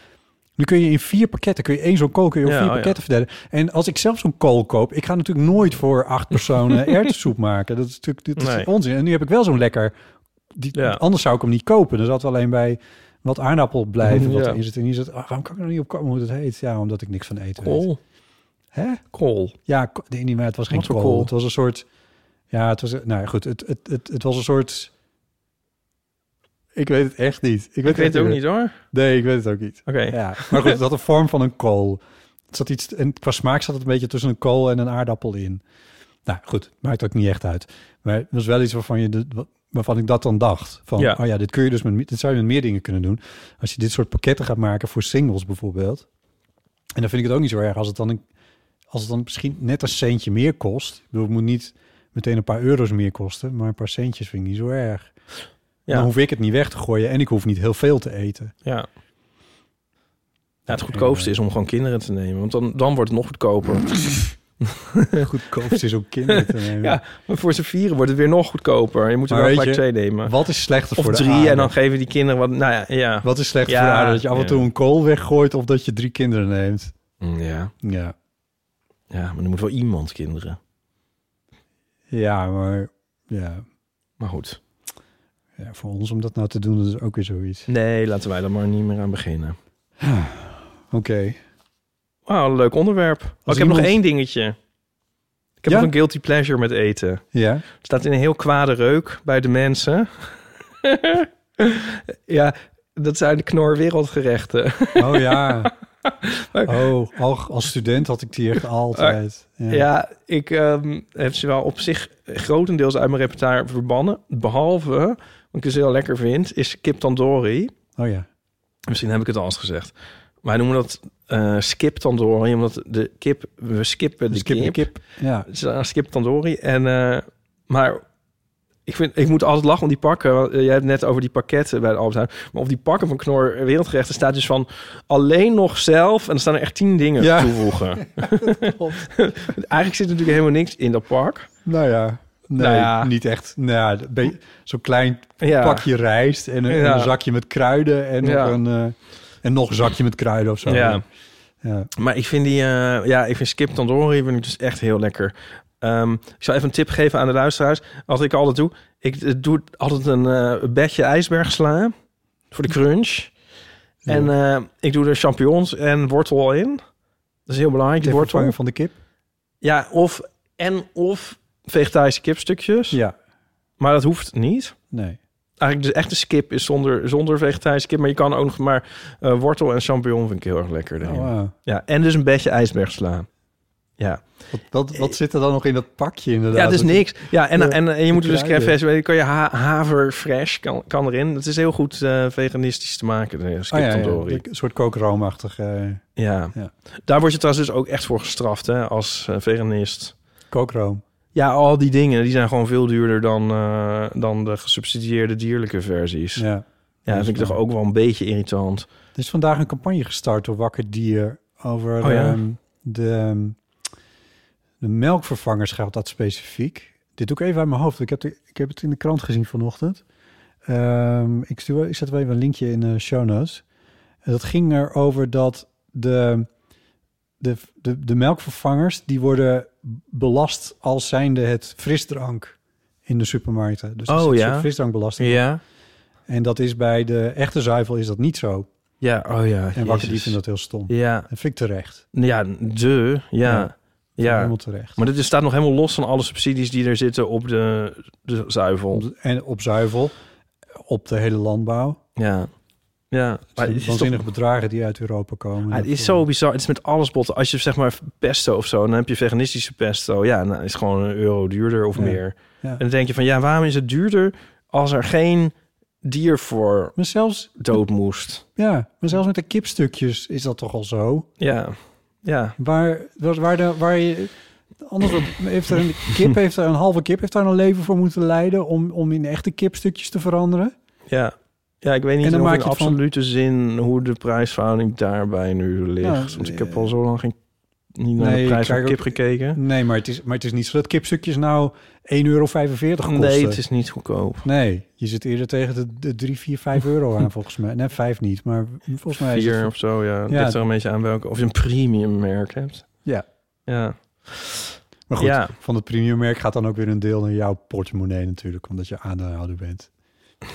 S3: nu kun je in vier pakketten... kun je één zo'n kool kun je op
S2: Ja,
S3: vier
S2: oh ja.
S3: pakketten verdelen. En als ik zelf zo'n kool koop... ik ga natuurlijk nooit voor acht personen erwtensoep maken. Dat is natuurlijk dit is
S2: Nee.
S3: onzin. En nu heb ik wel zo'n lekker die,
S2: Ja.
S3: Anders zou ik hem niet kopen. Dan zat alleen bij wat aardappel blijven wat
S2: Ja.
S3: erin zit. En hier zit, ah, waarom kan ik er niet op komen hoe het heet? Ja, omdat ik niks van eten weet.
S2: Kool.
S3: Hè?
S2: Kool.
S3: Ja, ko- nee, niet, maar het was geen
S2: Wat voor
S3: kool.
S2: kool?
S3: Het was een soort... Ja, het was... Nou ja, goed, het, het, het, het was een soort... Ik weet het echt niet. Ik weet,
S2: Ik weet het ook niet hoor.
S3: Nee, ik weet het ook niet.
S2: Oké.
S3: Ja, maar goed, het had de vorm van een kool. Het zat iets, en qua smaak zat het een beetje tussen een kool en een aardappel in. Nou goed, maakt ook niet echt uit. Maar het was wel iets waarvan, je de, wa- waarvan ik dat dan dacht. Van,
S2: Ja.
S3: oh ja, dit, kun je dus met, me- dit zou je met meer dingen kunnen doen. Als je dit soort pakketten gaat maken voor singles bijvoorbeeld. En dan vind ik het ook niet zo erg als het dan, een, als het dan misschien net een centje meer kost. Ik bedoel, het moet niet meteen een paar euro's meer kosten, maar een paar centjes vind ik niet zo erg.
S2: Ja.
S3: Dan hoef ik het niet weg te gooien en ik hoef niet heel veel te eten.
S2: Ja. Ja, het goedkoopste is om gewoon kinderen te nemen, want dan, dan wordt het nog goedkoper.
S3: Goedkoopst is om kinderen te nemen.
S2: Ja, maar voor z'n vieren wordt het weer nog goedkoper. Je moet er
S3: Maar
S2: wel
S3: weet
S2: gelijk
S3: je,
S2: twee nemen.
S3: Wat is slechter
S2: Of
S3: voor de
S2: drie
S3: aarde?
S2: en dan geven die kinderen wat. Nou ja, ja.
S3: Wat is slechter
S2: Ja,
S3: voor de aarde? Dat je af en
S2: ja.
S3: toe een kool weggooit of dat je drie kinderen neemt?
S2: Ja.
S3: Mm, Ja,
S2: ja, maar er moet wel iemand kinderen.
S3: ja maar ja.
S2: Maar goed.
S3: ja, voor ons om dat nou te doen, dat is ook weer zoiets.
S2: Nee, laten wij er maar niet meer aan beginnen.
S3: Oké.
S2: Wauw, leuk onderwerp. Oh, ik heb nog
S3: iemand-
S2: één dingetje. Ik heb
S3: Ja?
S2: nog een guilty pleasure met eten.
S3: Ja?
S2: staat in een heel kwade reuk bij de mensen. ja, dat zijn de knor wereldgerechten.
S3: Oh ja. Oh, och, als student had ik die echt altijd. Ja.
S2: Ja, ik ehm, heb ze wel op zich grotendeels uit mijn repertoire verbannen. Behalve, wat ik dus heel lekker vind, is kip tandoori.
S3: Oh ja.
S2: Misschien heb ik het al eens gezegd. Wij noemen dat eh skip tandoori, omdat de kip... We skippen de
S3: Dus kip, en
S2: kip.
S3: kip. Ja.
S2: Het is aan skip tandoori. En, eh, maar ik, vind, ik moet altijd lachen om die pakken. Want, eh, jij hebt het net over die pakketten bij de Albert Heijn. Maar op die pakken van Knor Wereldgerechten staat dus van... alleen nog zelf. En er staan er echt tien dingen
S3: Ja.
S2: toevoegen. Eigenlijk zit er natuurlijk helemaal niks in dat pak.
S3: Nou ja. Nee,
S2: Nou ja.
S3: niet echt. Nou ja, ben je- zo'n klein
S2: Ja.
S3: pakje rijst en een, en
S2: Ja.
S3: een zakje met kruiden en,
S2: Ja.
S3: nog een, eh, en nog een zakje met kruiden of zo.
S2: Ja.
S3: Ja.
S2: Maar ik vind die, eh, ja, ik vind Skip Tandoori vind ik dus echt heel lekker. Ehm, ik zal even een tip geven aan de luisteraars. Wat ik altijd doe, ik eh, doe altijd een eh, bedje ijsbergsla voor de crunch. En eh, ik doe er champignons en wortel in. Dat is heel belangrijk, die
S3: Ter
S2: wortel.
S3: vervanging van de kip?
S2: Ja, of en of vegetarische kipstukjes.
S3: Ja.
S2: Maar dat hoeft niet.
S3: Nee.
S2: Eigenlijk de echte skip is zonder, zonder vegetarische kip. Maar je kan ook nog maar eh, wortel en champignon vind ik heel erg lekker. erin.
S3: Oh, wauw.
S2: Ja, en dus een beetje ijsbergsla. Ja.
S3: Wat, wat, wat zit er dan nog in dat pakje inderdaad?
S2: Eh, ja, dat is
S3: Dat-
S2: niks. Ja, en,
S3: dus Ja,
S2: en, en je moet er dus
S3: kruiden.
S2: kreftjes... kan je ha haver fresh kan, kan erin. Dat is heel goed eh, veganistisch te maken, de skip
S3: Ah, ja, ja,
S2: tandoori.
S3: Een soort kookroomachtig. eh,
S2: Ja.
S3: Ja.
S2: Daar word je trouwens dus ook echt voor gestraft hè, als eh, veganist.
S3: kookroom.
S2: Ja, al die dingen die zijn gewoon veel duurder dan, eh, dan de gesubsidieerde dierlijke versies. Ja,
S3: Ja.
S2: dat vind ik toch ook wel een beetje irritant.
S3: Er is vandaag een campagne gestart door Wakker Dier over
S2: Oh ja.
S3: ehm, de, ehm, de melkvervangers geldt dat specifiek. Dit doe ik even uit mijn hoofd. Ik heb, de- ik heb het in de krant gezien vanochtend. Ehm, ik, stuur, ik zet wel even een linkje in de show notes. En dat ging erover dat de, de, de, de melkvervangers... die worden belast als zijnde het frisdrank in de supermarkten. Dus er
S2: Oh
S3: zit een
S2: ja.
S3: soort frisdrankbelasting.
S2: Ja?
S3: En dat is bij de echte zuivel is dat niet zo.
S2: Ja, oh ja.
S3: En Wakker die
S2: Jezus.
S3: vindt dat heel stom.
S2: Ja,
S3: Dat vind ik terecht.
S2: ja, de, ja.
S3: Ja.
S2: Ja,
S3: Helemaal terecht.
S2: maar dit is- staat nog helemaal los van alle subsidies die er zitten op de, de zuivel.
S3: Op- en op zuivel, op de hele landbouw.
S2: Ja, ja. Maar
S3: Het
S2: het
S3: zijn
S2: is toch
S3: waanzinnige bedragen die uit Europa komen.
S2: Ah, het is
S3: Dat-
S2: zo bizar. Het is met alles botten. Als je zeg maar pesto of zo, dan heb je veganistische pesto. Ja, nou is gewoon een euro duurder of
S3: Ja.
S2: meer.
S3: Ja.
S2: En dan denk je van ja, waarom is het duurder als er geen dier voor
S3: Maar zelfs,
S2: dood moest?
S3: ja, maar zelfs met de kipstukjes is dat toch al zo.
S2: Ja, ja.
S3: Waar, waar, waar, de, waar je... Anders dan- heeft er een kip, heeft er een halve kip, heeft daar een leven voor moeten leiden om, om in echte kipstukjes te veranderen.
S2: Ja. Ja, ik weet niet
S3: En dan
S2: of
S3: maak
S2: in
S3: je het van-
S2: absolute zin hoe de prijsverhouding daarbij nu ligt.
S3: Nou,
S2: Want ik
S3: eh,
S2: heb al zo lang geen, niet naar
S3: nee,
S2: de
S3: ik
S2: prijs van
S3: kijk
S2: kip
S3: ook-
S2: gekeken.
S3: Nee, maar het is, maar het is niet zo dat kipstukjes nou 1,45 euro kosten.
S2: Nee, het is niet goedkoop.
S3: Nee, je zit eerder tegen de, de 3, 4, 5 euro aan volgens mij. Nee, 5 niet, maar volgens mij is
S2: Vier
S3: het-
S2: of zo, ja. Het
S3: Ja.
S2: ligt er een beetje aan welke... Of je een premium merk hebt.
S3: Ja.
S2: Ja.
S3: Maar goed,
S2: Ja.
S3: van het premiummerk gaat dan ook weer een deel naar jouw portemonnee natuurlijk, omdat je aandeelhouder bent.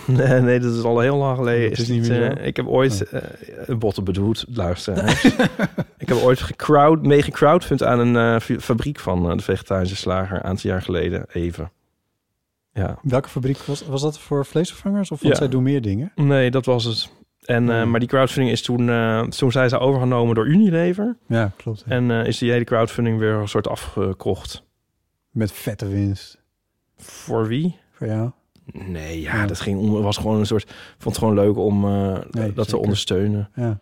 S2: Nee, nee, dat is al heel lang geleden.
S3: Dat is niet
S2: dit,
S3: meer
S2: eh,
S3: zo?
S2: ik heb ooit eh botten bedoeld, luisteraars. ik heb ooit gecrowd, meegecrowdfund aan een eh, fa- fabriek van eh, de vegetarische slager een aantal jaar geleden. Even. Ja.
S3: Welke fabriek was, was dat voor vleesvervangers? Of want
S2: Ja.
S3: zij doen meer dingen?
S2: Nee, dat was het. En,
S3: Hmm.
S2: eh, maar die crowdfunding is toen, eh, toen zijn ze overgenomen door Unilever.
S3: Ja, klopt.
S2: En eh, is die hele crowdfunding weer een soort afgekocht.
S3: Met vette winst
S2: Voor wie?
S3: voor jou.
S2: Nee, ja,
S3: Ja.
S2: dat ging om, was gewoon een soort. Vond het gewoon leuk om eh, dat te
S3: zeker.
S2: ondersteunen.
S3: Ja.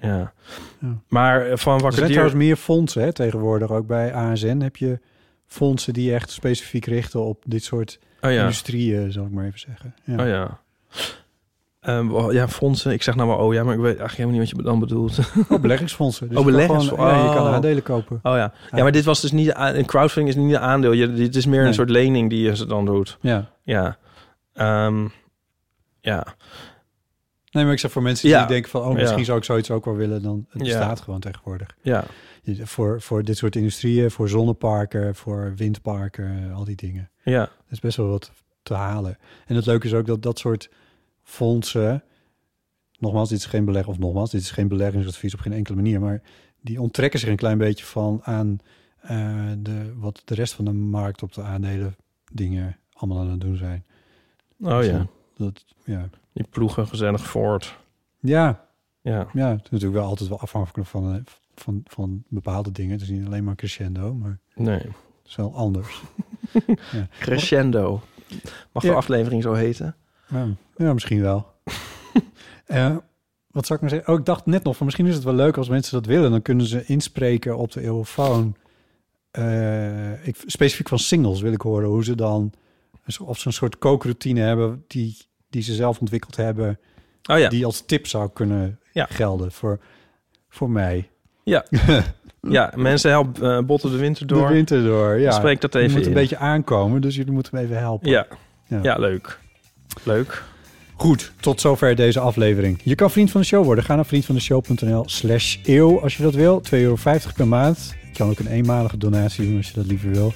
S2: Ja.
S3: Ja.
S2: Maar eh, van
S3: Er
S2: wakker
S3: zijn
S2: dier...
S3: trouwens meer fondsen hè, tegenwoordig. Ook bij ASN heb je fondsen die echt specifiek richten op dit soort
S2: Oh ja.
S3: industrieën, zal ik maar even zeggen. Ja.
S2: Oh ja. Ehm, wel, ja, fondsen. Ik zeg nou maar oh ja, maar ik weet eigenlijk helemaal niet wat je dan bedoelt.
S3: Oh, beleggingsfondsen. Dus
S2: Oh,
S3: je kan gewoon-
S2: beleggingsfondsen.
S3: ja, je kan
S2: Oh.
S3: aandelen kopen.
S2: Oh ja. Ja, maar dit was dus niet... a- Een crowdfunding is niet een aandeel. Je, dit is meer
S3: Nee.
S2: een soort lening die je ze dan doet.
S3: Ja.
S2: Ja. Ehm, ja.
S3: Nee, maar ik zeg voor mensen die
S2: Ja.
S3: denken van... oh,
S2: Ja.
S3: misschien zou ik zoiets ook wel willen... dan het
S2: Ja.
S3: bestaat gewoon tegenwoordig.
S2: Ja.
S3: Je- Voor, voor dit soort industrieën, voor zonneparken... voor windparken, al die dingen.
S2: Ja.
S3: Er is best wel wat te halen. En het leuke is ook dat dat soort fondsen... nogmaals, dit is geen beleg... of nogmaals, dit is geen beleggingsadvies op geen enkele manier... maar die onttrekken zich een klein beetje van... aan eh, de, wat de rest van de markt op de aandelen dingen allemaal aan het doen zijn.
S2: Oh
S3: Dus
S2: ja.
S3: dan- Dat, ja.
S2: Die ploegen gezellig voort.
S3: ja,
S2: Ja.
S3: Ja, het is natuurlijk wel altijd wel afhankelijk van, eh, van, van bepaalde dingen. Het is niet alleen maar crescendo, maar
S2: Nee.
S3: het is wel anders.
S2: Crescendo. Mag de
S3: Ja.
S2: aflevering zo heten?
S3: Ja, ja, misschien wel. Eh, wat zou ik maar zeggen? Oh, ik dacht net nog van misschien is het wel leuk als mensen dat willen. Dan kunnen ze inspreken op de eeuwfoon. Eh, ik, specifiek van singles wil ik horen hoe ze dan... Of ze een soort kookroutine hebben die, die ze zelf ontwikkeld hebben...
S2: Oh ja.
S3: die als tip zou kunnen
S2: Ja.
S3: gelden voor, voor mij.
S2: Ja. Mensen help eh, botten de winter door.
S3: De winter door, ja.
S2: Spreek dat
S3: Je
S2: even
S3: moet
S2: in.
S3: een beetje aankomen, dus jullie moeten me even helpen.
S2: Ja.
S3: Ja.
S2: Ja, leuk. Leuk.
S3: Goed, tot zover deze aflevering. Je kan vriend van de show worden. Ga naar vriendvandeshow.nl slash eeuw als je dat wil. 2,50 euro per maand. Je kan ook een eenmalige donatie doen als je dat liever wil.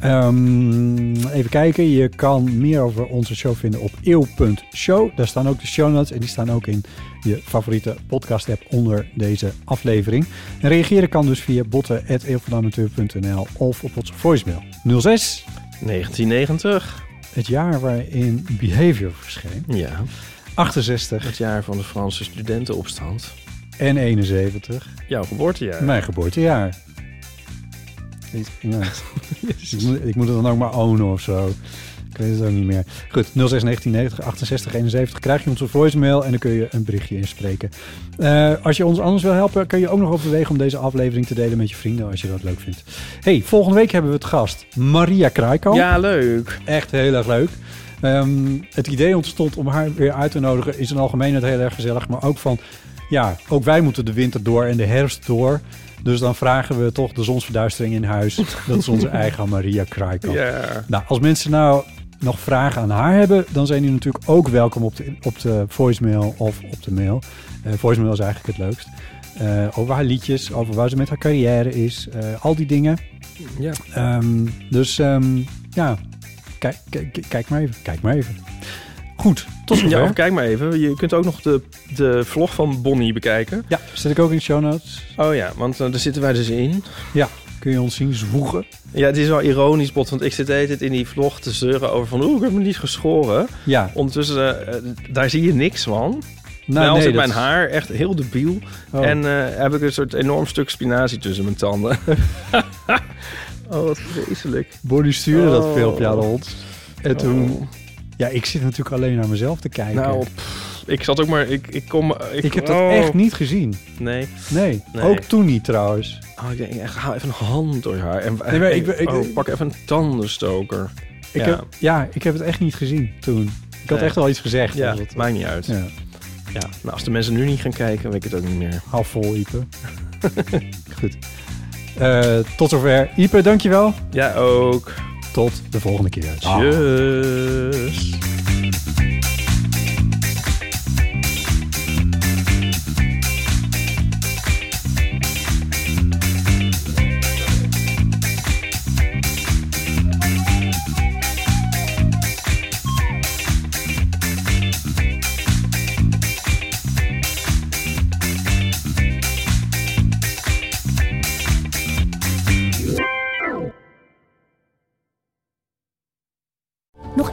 S3: Ehm, even kijken, je kan meer over onze show vinden op eeuw.show. Daar staan ook de show notes en die staan ook in je favoriete podcast app onder deze aflevering. En reageren kan dus via botten.eeuwvanamateur.nl of op onze voicemail. 06,
S2: 1990.
S3: het jaar waarin Behavior verscheen.
S2: Ja.
S3: 68
S2: Het jaar van de Franse studentenopstand.
S3: en 71.
S2: Jouw geboortejaar.
S3: Mijn geboortejaar. Ik, ja. ik, moet, ik moet het dan ook maar ownen of zo. Ik weet het ook niet meer. Goed, 061990 68 71 krijg je onze voicemail en dan kun je een berichtje inspreken. Eh, als je ons anders wil helpen, kun je ook nog overwegen om deze aflevering te delen met je vrienden als je dat leuk vindt. hey, volgende week hebben we het gast Maria Kraaikamp.
S2: Ja, leuk.
S3: Echt heel erg leuk. Ehm, het idee ontstond om haar weer uit te nodigen. Is in algemeenheid heel erg gezellig. Maar ook van, ja, ook wij moeten de winter door en de herfst door. Dus dan vragen we toch de zonsverduistering in huis. Dat is onze eigen Maria Kraaikamp.
S2: Ja.
S3: Nou, als mensen nou nog vragen aan haar hebben... dan zijn die natuurlijk ook welkom op de, op de voicemail of op de mail. Eh, voicemail is eigenlijk het leukst. Eh, over haar liedjes, over waar ze met haar carrière is. eh, al die dingen.
S2: Ja.
S3: Ehm, dus ehm, ja, kijk, kijk, kijk maar even. Kijk maar even. Goed, tot zover.
S2: Ja,
S3: Ja,
S2: of kijk maar even. Je kunt ook nog de, de vlog van Bonnie bekijken.
S3: zet ik ook in de show notes.
S2: Oh ja, want eh, daar zitten wij dus in.
S3: Kun je ons zien zwoegen.
S2: Ja, het is wel ironisch, Bot, want ik zit de hele tijd in die vlog te zeuren over van... Oeh, ik heb me niet geschoren.
S3: Ja,
S2: Ondertussen, eh, eh, daar zie je niks van.
S3: nou
S2: Nou,
S3: nee.
S2: zit
S3: dat-
S2: mijn haar echt heel debiel.
S3: oh.
S2: En eh, heb ik een soort enorm stuk spinazie tussen mijn tanden. oh, wat vreselijk.
S3: Bonnie stuurde dat
S2: Oh.
S3: filmpje aan ons. En toen...
S2: Oh.
S3: Ja, ik zit natuurlijk alleen naar mezelf te kijken.
S2: Nou, pff, ik zat ook maar... Ik, ik, kom, ik,
S3: ik heb dat
S2: oh.
S3: echt niet gezien.
S2: Nee.
S3: Nee,
S2: Nee.
S3: ook toen niet trouwens.
S2: Oh, ik denk, echt, haal even een hand door je haar. En,
S3: Nee, maar ik ben- ik-
S2: oh, pak even een tandenstoker.
S3: Ik
S2: Ja.
S3: Heb, ja, ik heb het echt niet gezien toen. Ik had
S2: Nee.
S3: echt wel iets gezegd.
S2: Ja,
S3: was het.
S2: Oh, maakt niet uit.
S3: ja
S2: Ja. Nou, als de mensen nu niet gaan kijken, weet ik het ook niet meer.
S3: half vol, Ipe. Goed. Eh, tot zover. Ipe, dankjewel.
S2: Ja, ook.
S3: Tot de volgende keer.
S2: Tjus.
S1: Nog